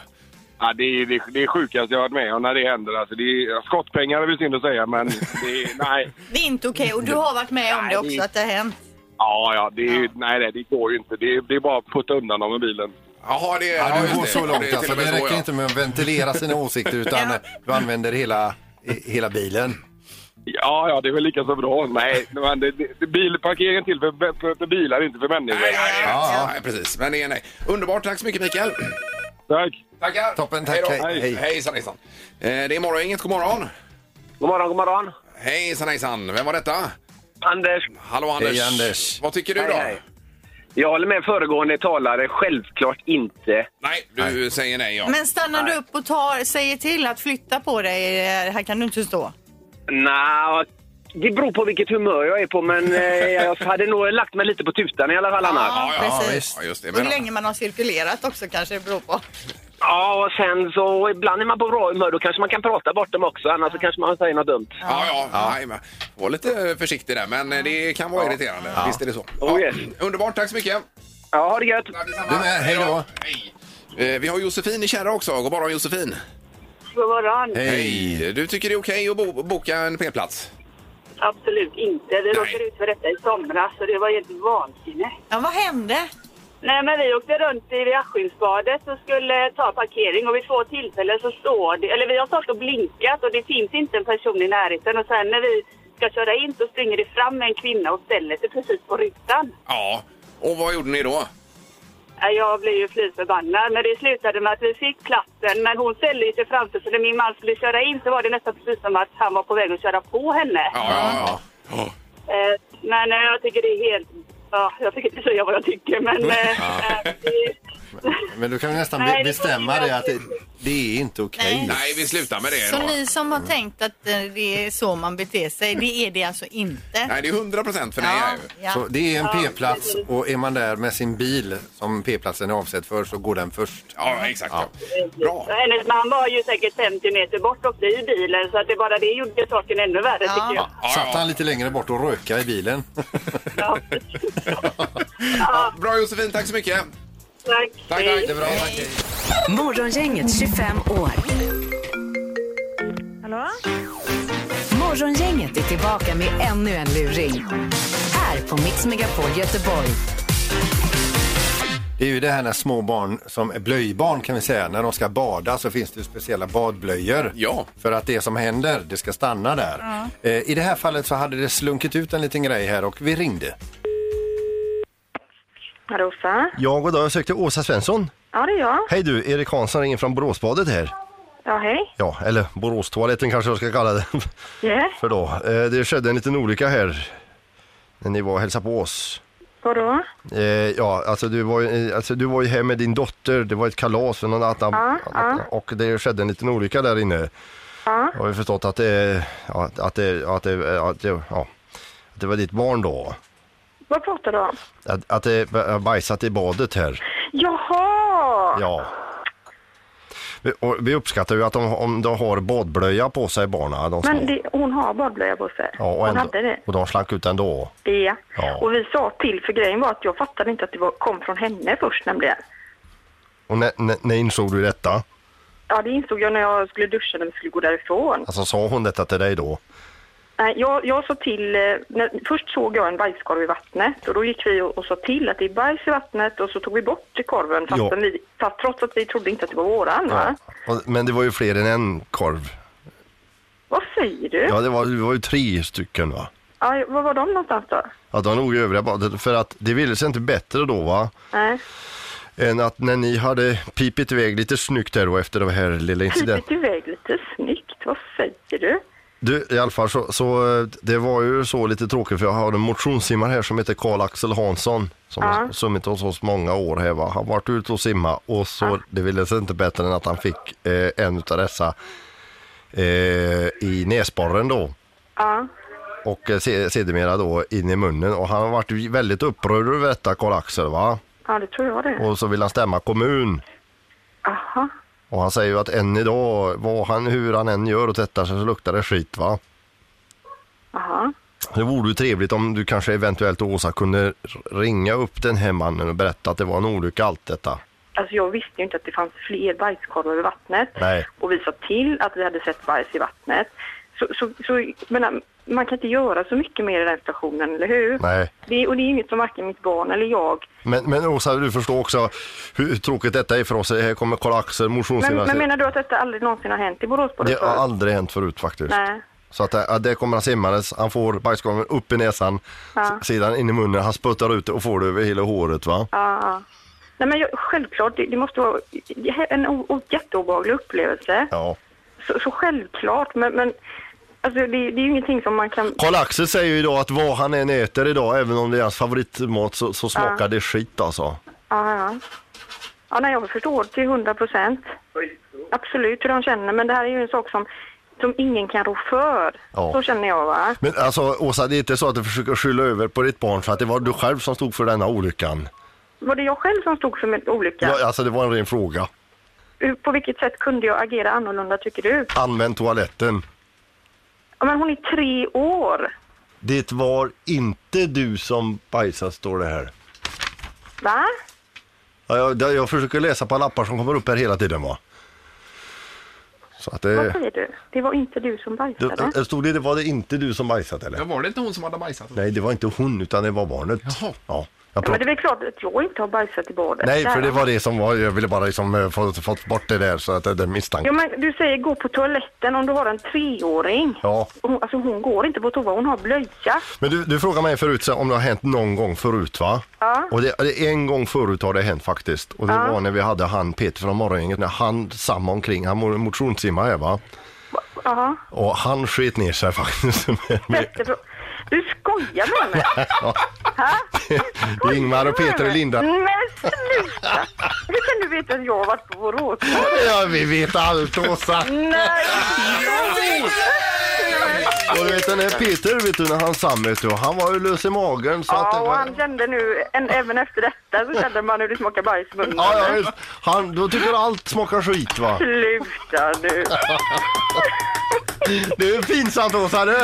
Speaker 10: Ja, det, är, det, är- det är sjukaste jag har varit med om när det händer. Alltså, det är, skottpengar är väl synd att säga, men det är, nej.
Speaker 3: Det är inte okej och du har varit med om det också att det har hänt.
Speaker 10: Ja, ja, det, är, ju- Nej, nej, det går ju inte. Det är, det är bara att putta undan dem med bilen.
Speaker 1: Jaha, det
Speaker 2: Ja,
Speaker 1: ja,
Speaker 2: du
Speaker 1: just
Speaker 2: går
Speaker 1: det.
Speaker 2: så långt alltså.
Speaker 1: Det är till och
Speaker 2: Det
Speaker 1: med så,
Speaker 2: räcker
Speaker 1: ja.
Speaker 2: inte med att ventilera sina åsikter utan eh, du använder hela, i- hela bilen.
Speaker 10: Ja, ja, det är väl lika så bra. Nej, men det, det, det- bilparkeringen är till för, för, för bilar, inte för människor.
Speaker 1: Nej, nej, nej, nej, precis. Men det är nej. Underbart. Tack så mycket, Mikael.
Speaker 10: Tack.
Speaker 1: Tackar.
Speaker 2: Toppen,
Speaker 1: Hej
Speaker 2: tack.
Speaker 1: då.
Speaker 2: Hej, hej.
Speaker 1: Hejsan, hejsan. Eh, Det är morgon, inget god morgon.
Speaker 10: God morgon, god morgon.
Speaker 1: Hejsan, hejsan. Vem var detta?
Speaker 10: Anders.
Speaker 1: Hallå, Anders.
Speaker 2: Hej, Anders.
Speaker 1: Vad tycker du
Speaker 10: Hej,
Speaker 1: då?
Speaker 10: hej. Jag håller med föregående talare, självklart inte.
Speaker 1: Nej, du säger nej. Ja.
Speaker 3: Men stannar du upp och tar, säger till att flytta på dig, eh, här kan du inte stå.
Speaker 10: Nej, det beror på vilket humör jag är på, men eh, jag hade nog lagt mig lite på tutan i alla fall annars.
Speaker 1: ja, ja,
Speaker 3: precis.
Speaker 1: Ja, just det.
Speaker 3: Och hur
Speaker 1: Men,
Speaker 3: länge man har cirkulerat också kanske det beror på.
Speaker 10: Ja, och sen så ibland är man på bra humör, då kanske man kan prata bort dem också, annars så kanske man säger något dumt.
Speaker 1: ja, ja, Nej, men, var lite försiktig där, men eh, det kan vara irriterande. Visst är det så.
Speaker 10: Oh, yes.
Speaker 1: Underbart, tack så mycket.
Speaker 10: Ja, ha det gött!
Speaker 2: Du med, hej då!
Speaker 1: Eh, Vi har Josefin i Kärra också. God morgon, Josefin.
Speaker 8: God morgon.
Speaker 1: Hej. Du tycker det är okej att bo boka en p-plats?
Speaker 8: Absolut inte. Vi råkade ut för detta i somras så det var helt vansinne.
Speaker 3: Ja, vad hände?
Speaker 8: Nej, men vi åkte runt i vid Askimsbadet och skulle ta parkering och vid två tillfällen så står det, eller vi har stått och blinkat och det finns inte en person i närheten och sen när vi ska köra in så springer det fram en kvinna och ställer sig precis på rutan.
Speaker 1: Ja. Och vad gjorde ni då?
Speaker 8: Ja, Jag blev ju fly förbannad, men det slutade med att vi fick platsen. Men hon ställde ju sig framför, så när min man skulle köra in så var det nästan precis som att han var på väg att köra på henne.
Speaker 1: Ja, ja, ja.
Speaker 8: Eh, Men eh, jag tycker det är helt... Ja, jag fick inte säga vad jag tycker, men... eh, eh, det-
Speaker 2: Men du kan vi nästan
Speaker 3: Nej,
Speaker 2: be-
Speaker 3: det
Speaker 2: bestämma det att det, det är inte okej.
Speaker 1: Nej, vi slutar med det.
Speaker 3: Så
Speaker 1: då.
Speaker 3: ni som har tänkt att eh, det är så man beter sig, det är det alltså inte.
Speaker 1: Nej, det är 100 procent för nej.
Speaker 3: Ja,
Speaker 1: är ju.
Speaker 3: ja.
Speaker 2: Så det är en p-plats och är man där med sin bil som p-platsen är avsedd för så går den först.
Speaker 1: Ja, exakt. Ja.
Speaker 8: Och Hennes man var ju säkert 50 meter bort också i bilen, så att det bara det gjorde saken ännu värre, tycker jag.
Speaker 2: Satt han lite längre bort och röka i bilen?
Speaker 1: Ja, bra Josefin, tack så mycket.
Speaker 8: Tack.
Speaker 1: Tack, tack. Det är bra, tack.
Speaker 4: Morgongänget 25 år.
Speaker 8: Hallå?
Speaker 4: Morgongänget är tillbaka med ännu en luring. Här på Mix Megapol Göteborg.
Speaker 2: Det är ju det här när små barn, som är blöjbarn kan vi säga, när de ska bada så finns det ju speciella badblöjor.
Speaker 1: Ja.
Speaker 2: För att det som händer, det ska stanna där. Eh, I det här fallet så hade det slunkit ut en liten grej här och vi ringde.
Speaker 11: Rosa?
Speaker 12: Ja, goddag. Jag sökte Åsa Svensson.
Speaker 11: Ja, det är jag.
Speaker 12: Hej du, Erik Hansson ringer från Boråsbadet här.
Speaker 11: Ja, hej.
Speaker 12: Ja, eller Boråstoaletten kanske jag ska kalla det
Speaker 11: Yeah.
Speaker 12: för då. Eh, Det skedde en liten olycka här när ni var och hälsade på oss.
Speaker 11: Vadå?
Speaker 12: Eh, Ja, alltså du, var, ju- eh, alltså du var ju här med din dotter. Det var ett kalas för någon annan.
Speaker 11: Ja, ja.
Speaker 12: Och det skedde en liten olycka där inne.
Speaker 11: Ja.
Speaker 12: Jag har ju förstått att det, ja, att det, att det, att det, ja, att det var ditt barn då.
Speaker 11: Vad pratar du om?
Speaker 12: Att, att det har bajsat i badet här.
Speaker 11: Jaha!
Speaker 12: Ja. Vi, och vi uppskattar ju att de, om de har badblöja på sig barna. De små.
Speaker 11: Men det, hon har badblöja på sig.
Speaker 12: ja, och,
Speaker 11: hon
Speaker 12: ändå,
Speaker 11: hade det.
Speaker 12: och de slank ut ändå.
Speaker 11: Ja.
Speaker 12: Ja.
Speaker 11: Och vi sa till, för grejen var att jag fattade inte att det var, kom från henne först nämligen.
Speaker 12: Och när, när, när insåg du detta?
Speaker 11: Ja, det insåg jag när jag skulle duscha när vi skulle gå därifrån.
Speaker 12: Alltså sa hon detta till dig då?
Speaker 11: Nej, jag, jag sa till, eh, när, först såg jag en bajskorv i vattnet och då gick vi och, och sa till att det är bajs i vattnet och så tog vi bort korven fast
Speaker 2: Ja.
Speaker 11: vi, fast, trots att vi trodde inte att det var våran. Va?
Speaker 2: Och- Men det var ju fler än en korv.
Speaker 11: Vad säger du?
Speaker 2: Ja, det var, det var ju tre stycken va?
Speaker 11: Ja, var var de någonstans då?
Speaker 2: Ja, de låg i övriga badet. För att det ville sig inte bättre då va?
Speaker 11: Nej.
Speaker 2: Än att när ni hade pipit iväg lite snyggt här då efter det här lilla incidenten.
Speaker 11: Pipit iväg lite snyggt, vad säger du?
Speaker 2: Du, i alla fall så, så eh, det var ju så lite tråkigt för jag har en motionssimmare här som heter Karl-Axel Hansson som
Speaker 11: Ja.
Speaker 2: har simmit hos oss många år här va. Han varit ute och simma och så det ville sig inte bättre än att han fick eh, en utav dessa eh, i näsborren då.
Speaker 11: Ja.
Speaker 2: Och eh, se- sedermera då in i munnen och han har varit ju väldigt upprörd över detta Karl-Axel va.
Speaker 11: Ja, det tror jag det.
Speaker 2: Och så vill han stämma kommun.
Speaker 11: Aha.
Speaker 2: Och han säger ju att än idag, vad han, hur han än gör och tvättar sig så luktar det skit va.
Speaker 11: Aha.
Speaker 2: Det vore ju trevligt om du kanske eventuellt Åsa kunde ringa upp den här mannen och berätta att det var en olycka allt detta.
Speaker 11: Alltså jag visste ju inte att det fanns fler bajskorvar i vattnet.
Speaker 2: Nej.
Speaker 11: och vi sa till att vi hade sett bajs i vattnet. Så, så, så jag menar, man kan inte göra så mycket mer i den situationen, eller hur?
Speaker 2: Nej.
Speaker 11: Det, och det är inget som varken mitt barn eller jag...
Speaker 2: Men, men Åsa, du förstår också hur tråkigt detta är för oss. Här kommer Karl-Axel,
Speaker 11: Men,
Speaker 2: motionssimmare.
Speaker 11: men menar du att detta aldrig någonsin har hänt i Borås på
Speaker 2: Det har aldrig hänt förut faktiskt.
Speaker 11: Nej.
Speaker 2: Så att det, ja, det kommer han simmandes, han får bajskorven upp i näsan,
Speaker 11: Ja.
Speaker 2: s- sedan in i munnen, han sputtar ut det och får det över hela håret va?
Speaker 11: Ja, ja. Nej, men jag, självklart, det, det måste vara en o, o, jätteobehaglig upplevelse.
Speaker 2: Ja.
Speaker 11: Så, så självklart, men, men alltså, det, det är ju ingenting som man kan...
Speaker 2: Karl-Axel säger ju idag att vad han än äter idag, även om det är hans favoritmat, så, så smakar
Speaker 11: Ja.
Speaker 2: det skit alltså.
Speaker 11: Ja, ja. ja nej, jag förstår till hundra procent. Absolut hur de känner, men det här är ju en sak som, som ingen kan rå för.
Speaker 2: Ja.
Speaker 11: Så känner jag va?
Speaker 2: Men alltså Åsa, det är inte så att du försöker skylla över på ditt barn för att det var du själv som stod för denna olyckan?
Speaker 11: Var det jag själv som stod för min olycka?
Speaker 2: Ja, alltså det var en ren fråga.
Speaker 11: Hur- På vilket sätt kunde jag agera annorlunda tycker du?
Speaker 2: Använd toaletten.
Speaker 11: Ja, men hon är tre år.
Speaker 2: Det var inte du som bajsade står det här.
Speaker 11: Va?
Speaker 2: Ja, jag, det- jag försöker läsa på lappar som kommer upp här hela tiden va. Så att eh,
Speaker 11: Vad
Speaker 2: det...
Speaker 11: säger du? Det var inte du som bajsade.
Speaker 2: det, det stod det, var det inte du som bajsat eller?
Speaker 1: Ja, var det inte hon som hade bajsat?
Speaker 2: Nej, det var inte hon utan det var barnet. Jaha. Ja, jag
Speaker 11: Ja, men det
Speaker 2: pratar...
Speaker 11: är väl klart att jag inte har bajsat i badet.
Speaker 2: Nej, för
Speaker 11: Där.
Speaker 2: det var det som var, jag ville bara liksom eh, få, fått bort det där så att det, det är misstanke.
Speaker 11: Ja, men du säger gå på toaletten om du har en treåring.
Speaker 2: Ja.
Speaker 11: Hon, alltså hon går inte på toa, hon har blöja.
Speaker 2: Men du, du frågade mig förut så om det har hänt någon gång förut va?
Speaker 11: Ja.
Speaker 2: Och det, det, en gång förut har det hänt faktiskt. Och det
Speaker 11: Ja.
Speaker 2: var när vi hade han Peter från morgongänget, när han samma omkring, han mo- motionssimmar här va?
Speaker 11: Ja.
Speaker 2: Och han sket ner sig faktiskt. Men- men-
Speaker 11: Petter, du skojar med mig?
Speaker 2: ja. Det är Ingmar och Peter och Linda.
Speaker 11: Men sluta! Hur kan du veta att jag har varit på Borås?
Speaker 2: Ja, vi vet allt Åsa.
Speaker 11: Nej!
Speaker 2: Och du vet den här Peter, vet du när han sam vet du, han var ju lös i magen så att det
Speaker 11: Ja, och
Speaker 2: var...
Speaker 11: han kände nu, en, även efter detta så kände man hur det smakar bajs i munnen.
Speaker 2: Ja, ja, visst. han, då tycker allt smakar skit va?
Speaker 11: Sluta nu!
Speaker 2: Det är pinsamt Åsa du.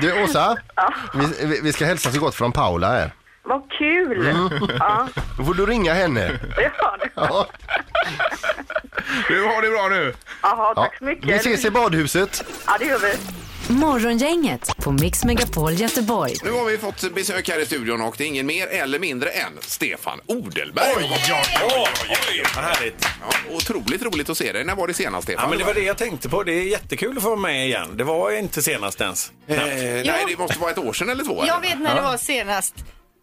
Speaker 2: Du Åsa, vi, vi- vi ska hälsa så gott från Paula här.
Speaker 11: Vad kul! Ja,
Speaker 2: Då får du ringa henne.
Speaker 11: ja, det-
Speaker 2: Ja.
Speaker 1: Du har det bra nu.
Speaker 11: jaha,
Speaker 2: Ja.
Speaker 11: tack så mycket.
Speaker 2: Vi ses i badhuset.
Speaker 11: Ja, det gör vi.
Speaker 4: Morgongänget på Mix Megapol Göteborg.
Speaker 1: Nu har vi fått besök här i studion och det är ingen mer eller mindre än Stefan Odelberg. Oj, oj, oj, oj. Vad härligt. Ja, otroligt roligt att se dig. När var det senast Stefan?
Speaker 13: Ja, men det var det jag tänkte på. Det är jättekul att få vara med igen. Det var inte senast ens.
Speaker 1: Eh, nej, Ja. det måste vara ett år sedan eller två.
Speaker 3: Jag vet när det var senast.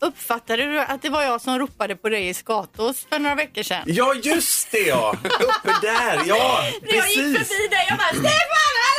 Speaker 3: Uppfattade du att det var jag som ropade på dig i Skatås för några veckor sedan?
Speaker 13: Ja, just det ja! Uppe där, ja!
Speaker 3: När jag gick
Speaker 13: Precis!
Speaker 3: förbi dig, jag bara Stefan, hallå!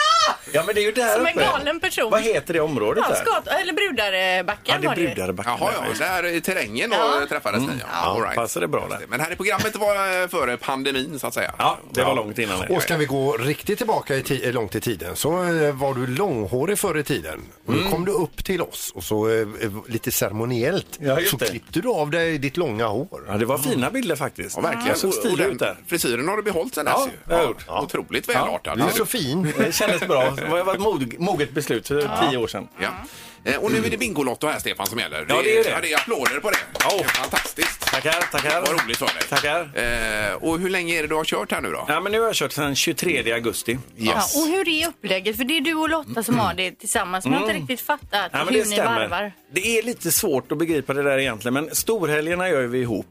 Speaker 13: Ja, men det är ju där
Speaker 3: Som en
Speaker 13: uppe.
Speaker 3: galen person.
Speaker 13: Vad heter det området
Speaker 3: Ja,
Speaker 13: där?
Speaker 3: skat, eller Brudarebacken var det ju.
Speaker 1: Jaha, ja, där i terrängen då
Speaker 3: Ja.
Speaker 1: träffades ni. Ja, all right. Passade bra där. Men här i programmet var eh, före pandemin så att säga. Ja,
Speaker 13: det var långt innan
Speaker 14: Och ska vi gå riktigt tillbaka i ti- eh, långt i tiden så eh, var du långhårig förr i tiden. Och
Speaker 13: Mm.
Speaker 14: då kom du upp till oss och så eh, eh, lite ceremoniellt
Speaker 13: Ja, just
Speaker 14: så
Speaker 13: det.
Speaker 14: klippte du av dig ditt långa hår.
Speaker 13: Ja, det var fina bilder faktiskt.
Speaker 1: Ja, verkligen.
Speaker 13: Jag såg
Speaker 1: Och- och
Speaker 13: stilig
Speaker 1: den
Speaker 13: ut där.
Speaker 1: frisyren har du behållit sen dess
Speaker 13: Ja,
Speaker 1: ju.
Speaker 13: det har jag gjort.
Speaker 1: Otroligt
Speaker 13: Ja.
Speaker 1: välartad.
Speaker 13: Du är
Speaker 1: ser
Speaker 13: så fin. Det kändes bra. Det var ett mod- moget beslut för tio år sedan.
Speaker 1: Ja. Eh, Och nu är det Bingolotto här Stefan som gäller.
Speaker 13: Ja, det är det.
Speaker 1: Ja, det är applåder på det. Det är Fantastiskt.
Speaker 13: Tackar, tackar.
Speaker 1: Vad roligt för dig. Tackar. Eh, och hur länge är det du har kört här nu då?
Speaker 13: Ja, men nu har jag kört sedan 23 augusti.
Speaker 3: Ja, och hur är upplägget? För det är du och Lotta som har det tillsammans. Man har inte
Speaker 13: Mm.
Speaker 3: riktigt fattat
Speaker 13: Ja, men
Speaker 3: hur
Speaker 13: det
Speaker 3: ni varvar.
Speaker 13: stämmer. Det är lite svårt att begripa det där egentligen, men storhelgerna gör vi ihop.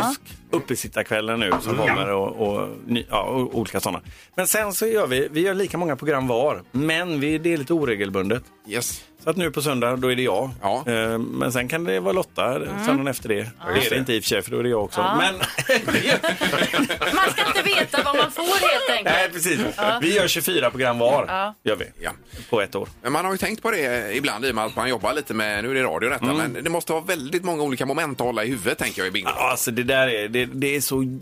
Speaker 13: Påsk, uppesittarkvällen nu som
Speaker 15: Mm.
Speaker 13: kommer och, och, ny- ja, och olika sådana. Men sen så gör vi, vi gör lika många program var, men vi, det är lite oregelbundet.
Speaker 1: Yes.
Speaker 13: Så att nu på söndag, då är det jag. Eh, Men sen kan det vara Lotta söndagen efter det. Det är det inte i och för sig, för då är det jag också.
Speaker 3: Mm. Ja.
Speaker 13: Men
Speaker 3: Man ska inte veta vad man får helt enkelt.
Speaker 13: nej, precis.
Speaker 3: Ja.
Speaker 13: Vi gör 24 program var,
Speaker 3: Ja.
Speaker 13: gör vi. På ett år.
Speaker 1: Men man har ju tänkt på det ibland i och med att man jobbar lite med, nu är det radio detta,
Speaker 13: Mm.
Speaker 1: men det måste vara väldigt många olika moment att hålla i huvudet tänker jag i bingo.
Speaker 13: Ja, Alltså det där är, det, det är så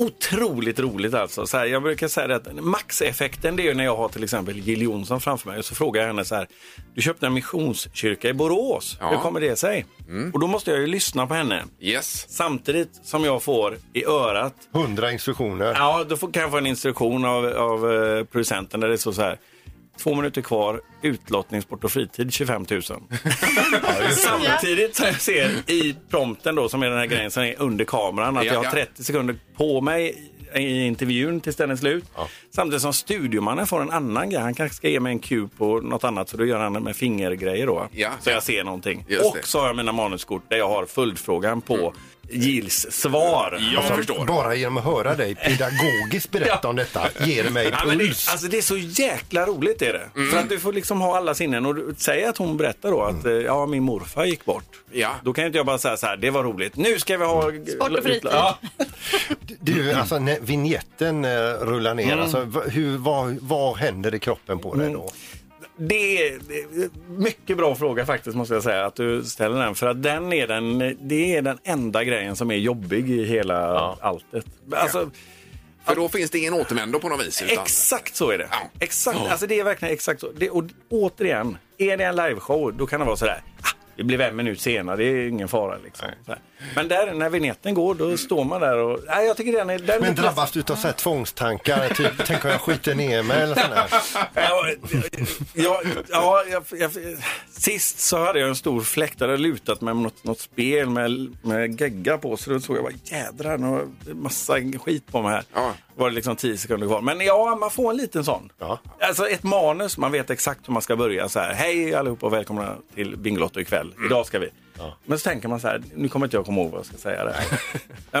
Speaker 13: otroligt roligt alltså. Så här, jag brukar säga det att maxeffekten det är ju när jag har till exempel Jill Johnson framför mig och så frågar jag henne så här. Du köpte en missionskyrka i Borås.
Speaker 1: Ja. Mm.
Speaker 13: Hur kommer det sig? Och då måste jag ju lyssna på henne.
Speaker 1: Yes.
Speaker 13: Samtidigt som jag får i örat.
Speaker 12: Hundra instruktioner.
Speaker 13: Ja, då får, kan jag få en instruktion av, av eh, producenten där det står så här. Två minuter kvar, utlottningssport och fritid 25 000. Samtidigt som jag ser i prompten då, som är den här grejen som är under kameran, att
Speaker 15: Ja,
Speaker 13: jag
Speaker 15: ja.
Speaker 13: har 30 sekunder på mig i intervjun tills den är slut. Samtidigt som studiomannen får en annan grej. Han kanske ska ge mig en cue på något annat, så då gör han det med fingergrejer då. så jag ser någonting.
Speaker 15: Just
Speaker 13: och
Speaker 15: det.
Speaker 13: så har jag mina manuskort där jag har följdfrågan
Speaker 1: Mm.
Speaker 13: på Gills svar.
Speaker 12: Alltså, Bara genom att höra dig pedagogiskt berätta om detta ger mig
Speaker 13: Ja, men det,
Speaker 12: puls.
Speaker 13: alltså det är så jäkla roligt är det. För att du får liksom ha alla sinnen och du- säg att hon berättar då att eh, ja, min morfar gick bort.
Speaker 1: Ja.
Speaker 13: Då kan ju inte jag bara säga så här, det var roligt, nu ska vi ha...
Speaker 12: Sport och fritid.
Speaker 13: Ja.
Speaker 12: Du, alltså när vignetten eh, rullar ner,
Speaker 13: Mm.
Speaker 12: alltså, v- hur, vad, vad händer i kroppen på dig då?
Speaker 13: Det är det är mycket bra fråga faktiskt måste jag säga att du ställer den. För att den är den, det är den enda grejen som är jobbig i hela alltet. Alltså,
Speaker 1: För då finns det ingen återvändo på något vis. Utan...
Speaker 13: Exakt så är det. Exakt, alltså det är verkligen exakt så. Det, och återigen, är det en liveshow då kan det vara sådär. Ah, det blev en minut senare, det är ingen fara. Liksom. Så här. Men där, när vignetten går, då står man där och... Nej, jag tycker den är... Den
Speaker 12: Men drabbas du av så här tvångstankar? Typ, tänk om jag skiter ner mig eller sådär.
Speaker 13: Ja, ja, ja, jag, jag, sist så hade jag en stor fläkt där jag lutat mig mot något, något spel med, med gegga på. Så då såg jag bara jädrar, nu har jag massa skit på mig här. var det liksom tio sekunder kvar. Men ja, man får en liten sån. Alltså ett manus, man vet exakt hur man ska börja. Så här, Hej allihopa och välkomna till Bingolotto ikväll. Idag ska vi. Men så tänker man så här, nu kommer inte jag komma ihåg vad jag ska säga. Där.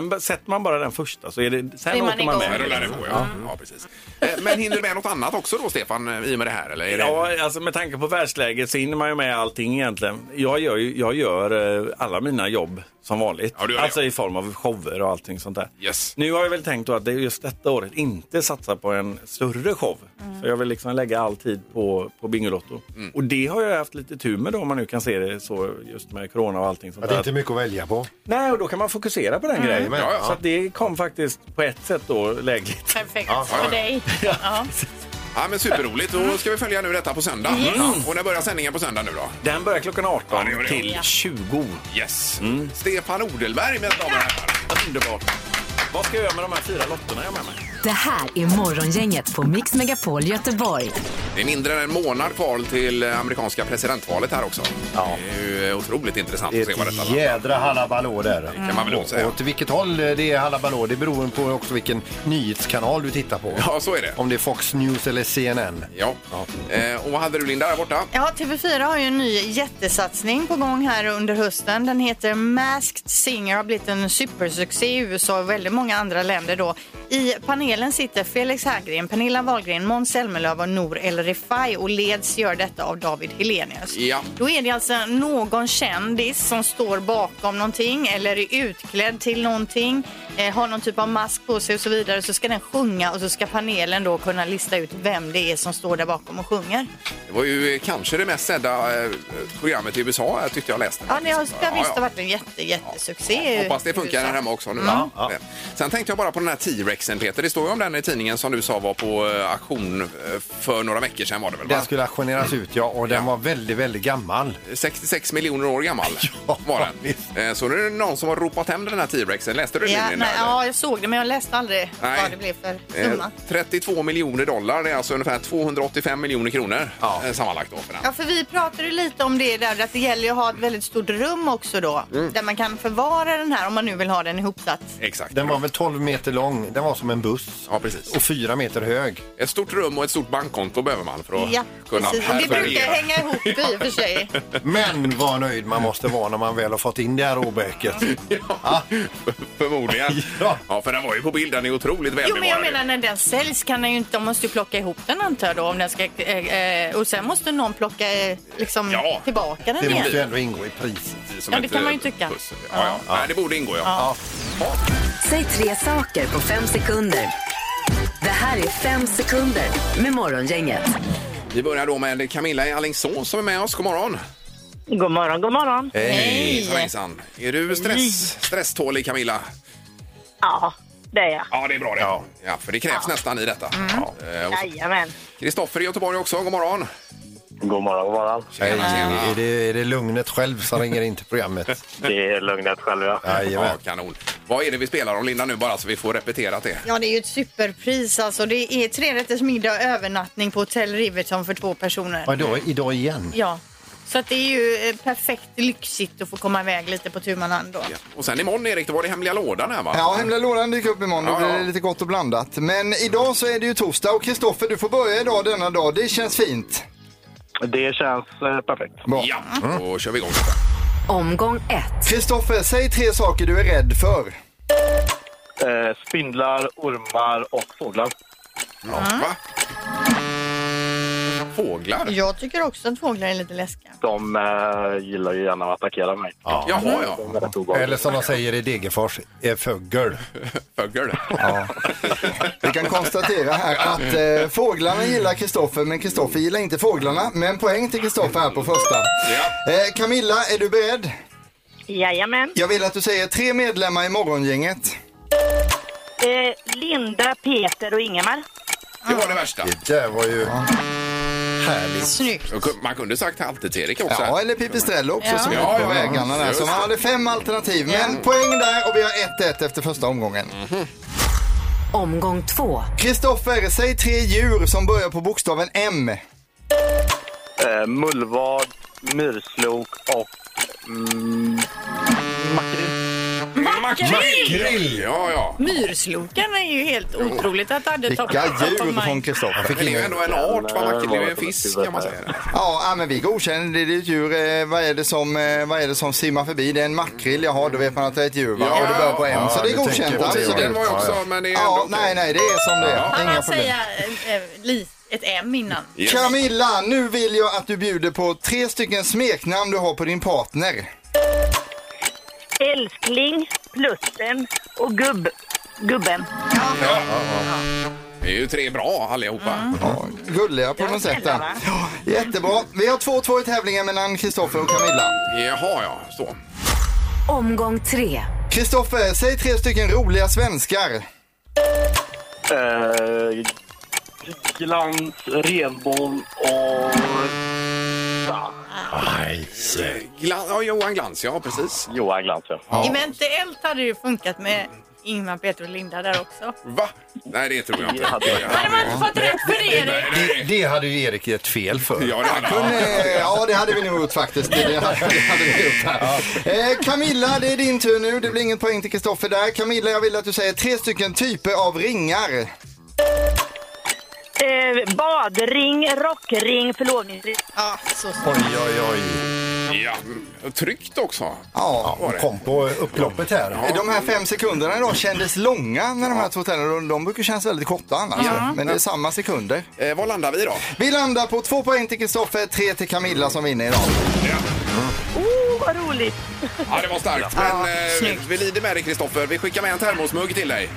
Speaker 13: Men sätter man bara den första så är det, sen
Speaker 1: Är man
Speaker 13: åker man
Speaker 1: igång.
Speaker 13: med.
Speaker 1: Sen rullar det på, ja. Ja, precis. Eh, Men hinner du med något annat också då, Stefan, eh, i och med det här? Eller är det...
Speaker 13: Ja, alltså med tanke på världsläget så hinner man ju med allting egentligen. Jag gör, ju- jag gör eh, alla mina jobb som vanligt. alltså i form av shower och allting sånt där. Nu har jag väl tänkt då att det är just detta året inte satsa på en större show. Så jag vill liksom lägga all tid på, på Bingolotto.
Speaker 12: Mm.
Speaker 13: Och det har jag haft lite tur med då om man nu kan se det så just med corona och allting sånt
Speaker 12: Att det
Speaker 13: där.
Speaker 12: inte är mycket att välja på.
Speaker 13: Nej, och då kan man fokusera på den
Speaker 1: Mm.
Speaker 13: grejen.
Speaker 12: Ja, ja.
Speaker 13: Så att det kom faktiskt på ett sätt då lägligt.
Speaker 3: Perfekt
Speaker 13: Ja, ja, ja.
Speaker 3: för dig. Ja.
Speaker 1: Ja, men superroligt. Då ska vi följa nu detta på söndag.
Speaker 13: Mm.
Speaker 3: Yes.
Speaker 1: Ja, Och när börjar sändningen på söndag nu då?
Speaker 13: Den börjar klockan 18
Speaker 1: gör det.
Speaker 13: till
Speaker 1: Ja.
Speaker 13: 20.
Speaker 1: Yes.
Speaker 13: Mm.
Speaker 1: Stefan Odelberg med damer och herrar.
Speaker 13: Underbart. Vad ska jag göra med de här fyra lotterna jag har med mig?
Speaker 4: Det här är Morgongänget på Mix Megapol Göteborg.
Speaker 1: Det är mindre än en månad kvar till eh, amerikanska presidentvalet här också. Det är ju otroligt intressant att se vad detta
Speaker 12: Ett jädra halabalå där. Det
Speaker 1: kan man väl lugnt säga.
Speaker 12: Och åt vilket håll det är halabalå, det beror på också vilken nyhetskanal du tittar på.
Speaker 1: Ja, så är det.
Speaker 12: Om det är Fox News eller CNN.
Speaker 1: Ja. Eh, och vad hade du Linda där borta?
Speaker 3: Ja, TV4 har ju en ny jättesatsning på gång här under hösten. Den heter Masked Singer har blivit en supersuccé i USA och väldigt många andra länder då. I panelen sitter Felix Herngren, Pernilla Wahlgren, Måns Zelmerlöw och Nour El Refai och leds gör detta av David Helenius.
Speaker 1: Ja.
Speaker 3: Då är det alltså någon kändis som står bakom någonting eller är utklädd till någonting, eh, har någon typ av mask på sig och så vidare. Så ska den sjunga och så ska panelen då kunna lista ut vem det är som står där bakom och sjunger.
Speaker 1: Det var ju eh, kanske det mest sedda eh, programmet i USA, eh, tyckte jag läste.
Speaker 3: Ja, det har det har
Speaker 1: Ja,
Speaker 3: visst
Speaker 1: ja.
Speaker 3: varit en jätte, jättesuccé.
Speaker 1: Hoppas det funkar här hemma också nu.
Speaker 3: Ja.
Speaker 1: Sen tänkte jag bara på den här T-Rex växeln Peter. Det står ju om den i tidningen som du sa var på eh, auktion eh, för några veckor sedan var det väl? Va?
Speaker 2: Den skulle auktioneras ut ja och den var väldigt, väldigt gammal.
Speaker 1: 66 miljoner år gammal var den. Eh, Så nu är det någon som har ropat hem den här T-rexen. Läste du det
Speaker 3: Ja,
Speaker 1: nyligen?
Speaker 3: nej,
Speaker 1: eller?
Speaker 3: ja, jag såg det men jag läste aldrig
Speaker 1: Nej.
Speaker 3: vad det blev för
Speaker 1: Eh,
Speaker 3: summa.
Speaker 1: 32 miljoner dollar, det är alltså ungefär 285 miljoner kronor eh, sammanlagt. Då för den.
Speaker 3: Ja, för vi pratade ju lite om det där att det gäller ju att ha ett väldigt stort rum också då.
Speaker 2: Mm.
Speaker 3: Där man kan förvara den här om man nu vill ha den ihopsatt.
Speaker 1: Exakt.
Speaker 2: Den var väl 12 meter lång. Den var som en buss.
Speaker 1: Ja, precis.
Speaker 2: Och fyra meter hög.
Speaker 1: Ett stort rum och ett stort bankkonto behöver man för att
Speaker 3: Ja,
Speaker 1: kunna
Speaker 3: precis. Och Det brukar
Speaker 1: härbärgera.
Speaker 3: hänga ihop i och för sig.
Speaker 2: Men vad nöjd man måste vara när man väl har fått in det här råbäket.
Speaker 1: Ja, förmodligen. ja. för den var ju på bild. Den är otroligt
Speaker 3: Jo, men jag
Speaker 1: välbevarad.
Speaker 3: menar när den säljs kan den ju inte, de måste ju plocka ihop den antar jag då om den ska, eh, eh, och sen måste någon plocka eh, liksom tillbaka den
Speaker 2: Det
Speaker 3: igen.
Speaker 2: måste ju ändå ingå i priset.
Speaker 3: Ja, det kan man ju tycka.
Speaker 1: eh, Ja, ja. Nej, det borde ingå, ja.
Speaker 3: Ja.
Speaker 4: Säg tre saker på fem sekunder. Det här är fem sekunder med Morgongänget.
Speaker 1: Vi börjar då med Camilla i Alingsås som är med oss. God morgon!
Speaker 15: God morgon, god morgon.
Speaker 2: Eh.
Speaker 1: Hejsan, hejsan. Är du stress, stresstålig, Camilla?
Speaker 15: Ja, det är jag.
Speaker 1: Ja, det är bra det. Ja, för det krävs nästan i detta. Ja. Eh, och så-
Speaker 15: Jajamän.
Speaker 1: Kristoffer i Göteborg också. God morgon!
Speaker 6: God morgon, god morgon.
Speaker 2: Hej, är, det, är det Lugnet själv som ringer in till programmet?
Speaker 6: Det är lugnet själv, ja.
Speaker 1: Ja, kanon. Vad är det vi spelar om, Linda, nu bara så vi får repetera det?
Speaker 3: Ja, det är ju ett superpris alltså. Det är tre rätters middag och övernattning på Hotel Riverton för två personer.
Speaker 2: Vadå, idag igen?
Speaker 3: Ja, så att det är ju eh, perfekt lyxigt att få komma iväg lite på tu man hand då.
Speaker 1: Och sen imorgon, Erik, då var det hemliga lådan här, va?
Speaker 5: Ja, hemliga lådan dyker upp imorgon. Då
Speaker 1: Ja,
Speaker 5: blir
Speaker 1: ja.
Speaker 5: det lite gott och blandat. Men idag så är det ju torsdag och Kristoffer, du får börja idag denna dag. Det känns fint.
Speaker 6: Det känns eh, perfekt.
Speaker 1: Ja, Mm. då kör vi igång.
Speaker 4: Omgång ett.
Speaker 5: Kristoffer, säg tre saker du är rädd för.
Speaker 6: Eh, spindlar, ormar och fåglar.
Speaker 1: Va? Fåglar?
Speaker 3: Jag tycker också att fåglar är lite läskiga.
Speaker 6: De eh, gillar ju gärna att attackera mig. Ja.
Speaker 1: Jaha, ja.
Speaker 6: De är rätt obehagliga.
Speaker 2: Eller som de säger i Degerfors, är fögel.
Speaker 1: Fögel?
Speaker 2: Ja.
Speaker 5: Vi kan konstatera här att eh, fåglarna gillar Kristoffer, men Kristoffer gillar inte fåglarna. Men poäng till Kristoffer här på första. Eh, Camilla, är du beredd?
Speaker 15: Jajamän.
Speaker 5: Jag vill att du säger tre medlemmar i morgongänget.
Speaker 15: Eh, Linda, Peter och Ingemar.
Speaker 1: Det var det värsta.
Speaker 2: Det där var ju härligt.
Speaker 3: Snyggt.
Speaker 1: Man kunde sagt Halvtids-Erik också.
Speaker 5: Ja, eller Pipistrello också som
Speaker 1: Ja,
Speaker 5: är ute på
Speaker 1: ja, ja.
Speaker 5: vägarna där.
Speaker 1: Just
Speaker 5: Så man
Speaker 1: det.
Speaker 5: hade fem alternativ. Men poäng där och vi har 1-1 efter första omgången.
Speaker 1: Mm.
Speaker 4: Omgång två.
Speaker 5: Kristoffer, säg tre djur som börjar på bokstaven M.
Speaker 6: Eh, mullvad, myrslok och mm,
Speaker 1: Makrill! Ja, ja.
Speaker 3: Myrslokarna är ju helt otroligt att det hade tagit upp på mig.
Speaker 5: Kristoffer.
Speaker 1: Det är ju ändå en art, va? Makrill är ju en fisk, kan man säga.
Speaker 5: Ja, ja, men vi godkänner det. Det är ett djur. Eh, vad, är det som, eh, vad är det som simmar förbi? Det är en makrill. Jaha, då vet man att det är ett djur. Va?
Speaker 1: Ja,
Speaker 5: och det börjar på M.
Speaker 1: ja,
Speaker 5: så det är
Speaker 1: det
Speaker 5: godkänt.
Speaker 1: tänker jag också.
Speaker 5: absolut.
Speaker 1: Den var ju också,
Speaker 5: Ja, ja.
Speaker 1: men det är ändå
Speaker 5: ja,
Speaker 1: okej.
Speaker 5: Nej, nej, det är som det
Speaker 3: Kan
Speaker 5: är. Inga
Speaker 3: man
Speaker 5: problem.
Speaker 3: säga eh, eh, li- ett M innan?
Speaker 5: Camilla, nu vill jag att du bjuder på tre stycken smeknamn du har på din partner.
Speaker 15: Älskling, Plutten och gubb, Gubben.
Speaker 1: Ja. Det är ju tre bra allihopa.
Speaker 5: Gulliga på något sätt. Där. Ja, Jättebra. Vi har 2-2 i tävlingen mellan Kristoffer och Camilla.
Speaker 1: Jaha, ja. Så.
Speaker 4: Omgång tre.
Speaker 5: Kristoffer, säg tre stycken roliga svenskar.
Speaker 6: eh, glans, renbom och...
Speaker 2: Nej.
Speaker 1: Glan, ja, Johan Glans, ja precis.
Speaker 6: Johan Glans, ja.
Speaker 3: Eventuellt hade det ju funkat med Ingmar, Peter och Linda där också.
Speaker 1: Va? Nej, det tror jag inte.
Speaker 3: Hade man inte fått rätt för det, Erik?
Speaker 2: Det, det hade ju Erik gett fel för.
Speaker 1: Ja, det hade han.
Speaker 5: Eh, Ja, det hade vi nog gjort faktiskt. Det hade, det hade vi gjort här. Eh, Camilla, det är din tur nu. Det blir inget poäng till Kristoffer där. Camilla, jag vill att du säger tre stycken typer av ringar.
Speaker 15: Eh, badring, rockring, förlovningsring.
Speaker 3: Ja, så, så.
Speaker 2: Oj, oj, oj.
Speaker 1: Ja, mm, tryggt också.
Speaker 5: Ja,
Speaker 2: hon kom på upploppet här.
Speaker 5: Eh, De här fem sekunderna idag kändes långa när de här två tävlingarna. De, de brukar kännas väldigt korta annars.
Speaker 1: Ja.
Speaker 5: Men det är samma sekunder.
Speaker 1: Eh, var landar vi då?
Speaker 5: Vi landar på två poäng till Kristoffer, tre till Camilla som vinner idag.
Speaker 15: Oh, vad roligt!
Speaker 1: Ja, det var starkt. Men eh, vi, vi lider med dig, Kristoffer. Vi skickar med en termosmugg till dig.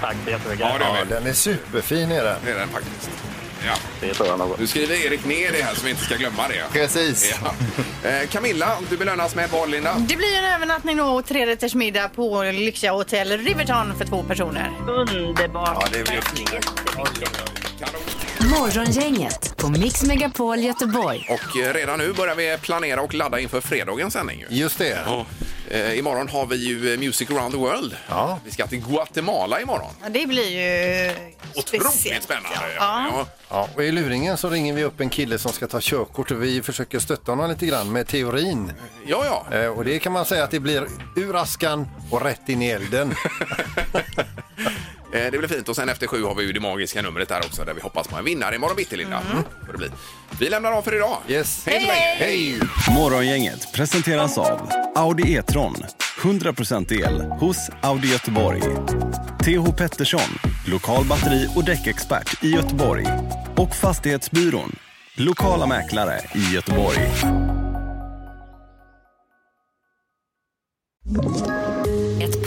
Speaker 6: Tack så jättemycket.
Speaker 1: Ja, det gör
Speaker 2: Ja,
Speaker 1: vi.
Speaker 2: den är superfin är den.
Speaker 1: Det är den faktiskt. Ja. Det tror jag nog. Nu skriver Erik ner det här så vi inte ska glömma det.
Speaker 5: Precis.
Speaker 1: Ja. Eh, Camilla, du belönas med vad, Linda?
Speaker 3: Det blir ju en övernattning då och trerätters middag på Lyxia Hotel Riverton för två personer. Underbart.
Speaker 1: Ja, det blir
Speaker 4: Morgongänget på Mix Megapol Göteborg.
Speaker 1: Och eh, redan nu börjar vi planera och ladda inför fredagens sändning. Ju.
Speaker 2: Just det.
Speaker 1: Eh, imorgon har vi ju eh, Music around the world. Vi ska till Guatemala imorgon.
Speaker 3: Ja, det blir ju
Speaker 1: Otroligt spännande.
Speaker 3: Ja.
Speaker 2: Ja, och I luringen så ringer vi upp en kille som ska ta körkort och vi försöker stötta honom lite grann med teorin.
Speaker 1: Ja,
Speaker 2: ja. Eh, Och det kan man säga att det blir ur askan och rätt in i elden.
Speaker 1: Eh, Det blir fint och sen efter sju har vi ju det magiska numret där också där vi hoppas på en vinnare imorgon bitti Linda. Får det bli. Vi lämnar av för idag.
Speaker 2: Yes.
Speaker 1: Hej, hej, hej!
Speaker 16: Morgongänget presenteras av Audi E-tron. 100% el hos Audi Göteborg. TH Pettersson, lokal batteri och däckexpert i Göteborg. Och Fastighetsbyrån, lokala mäklare i Göteborg.
Speaker 17: Ett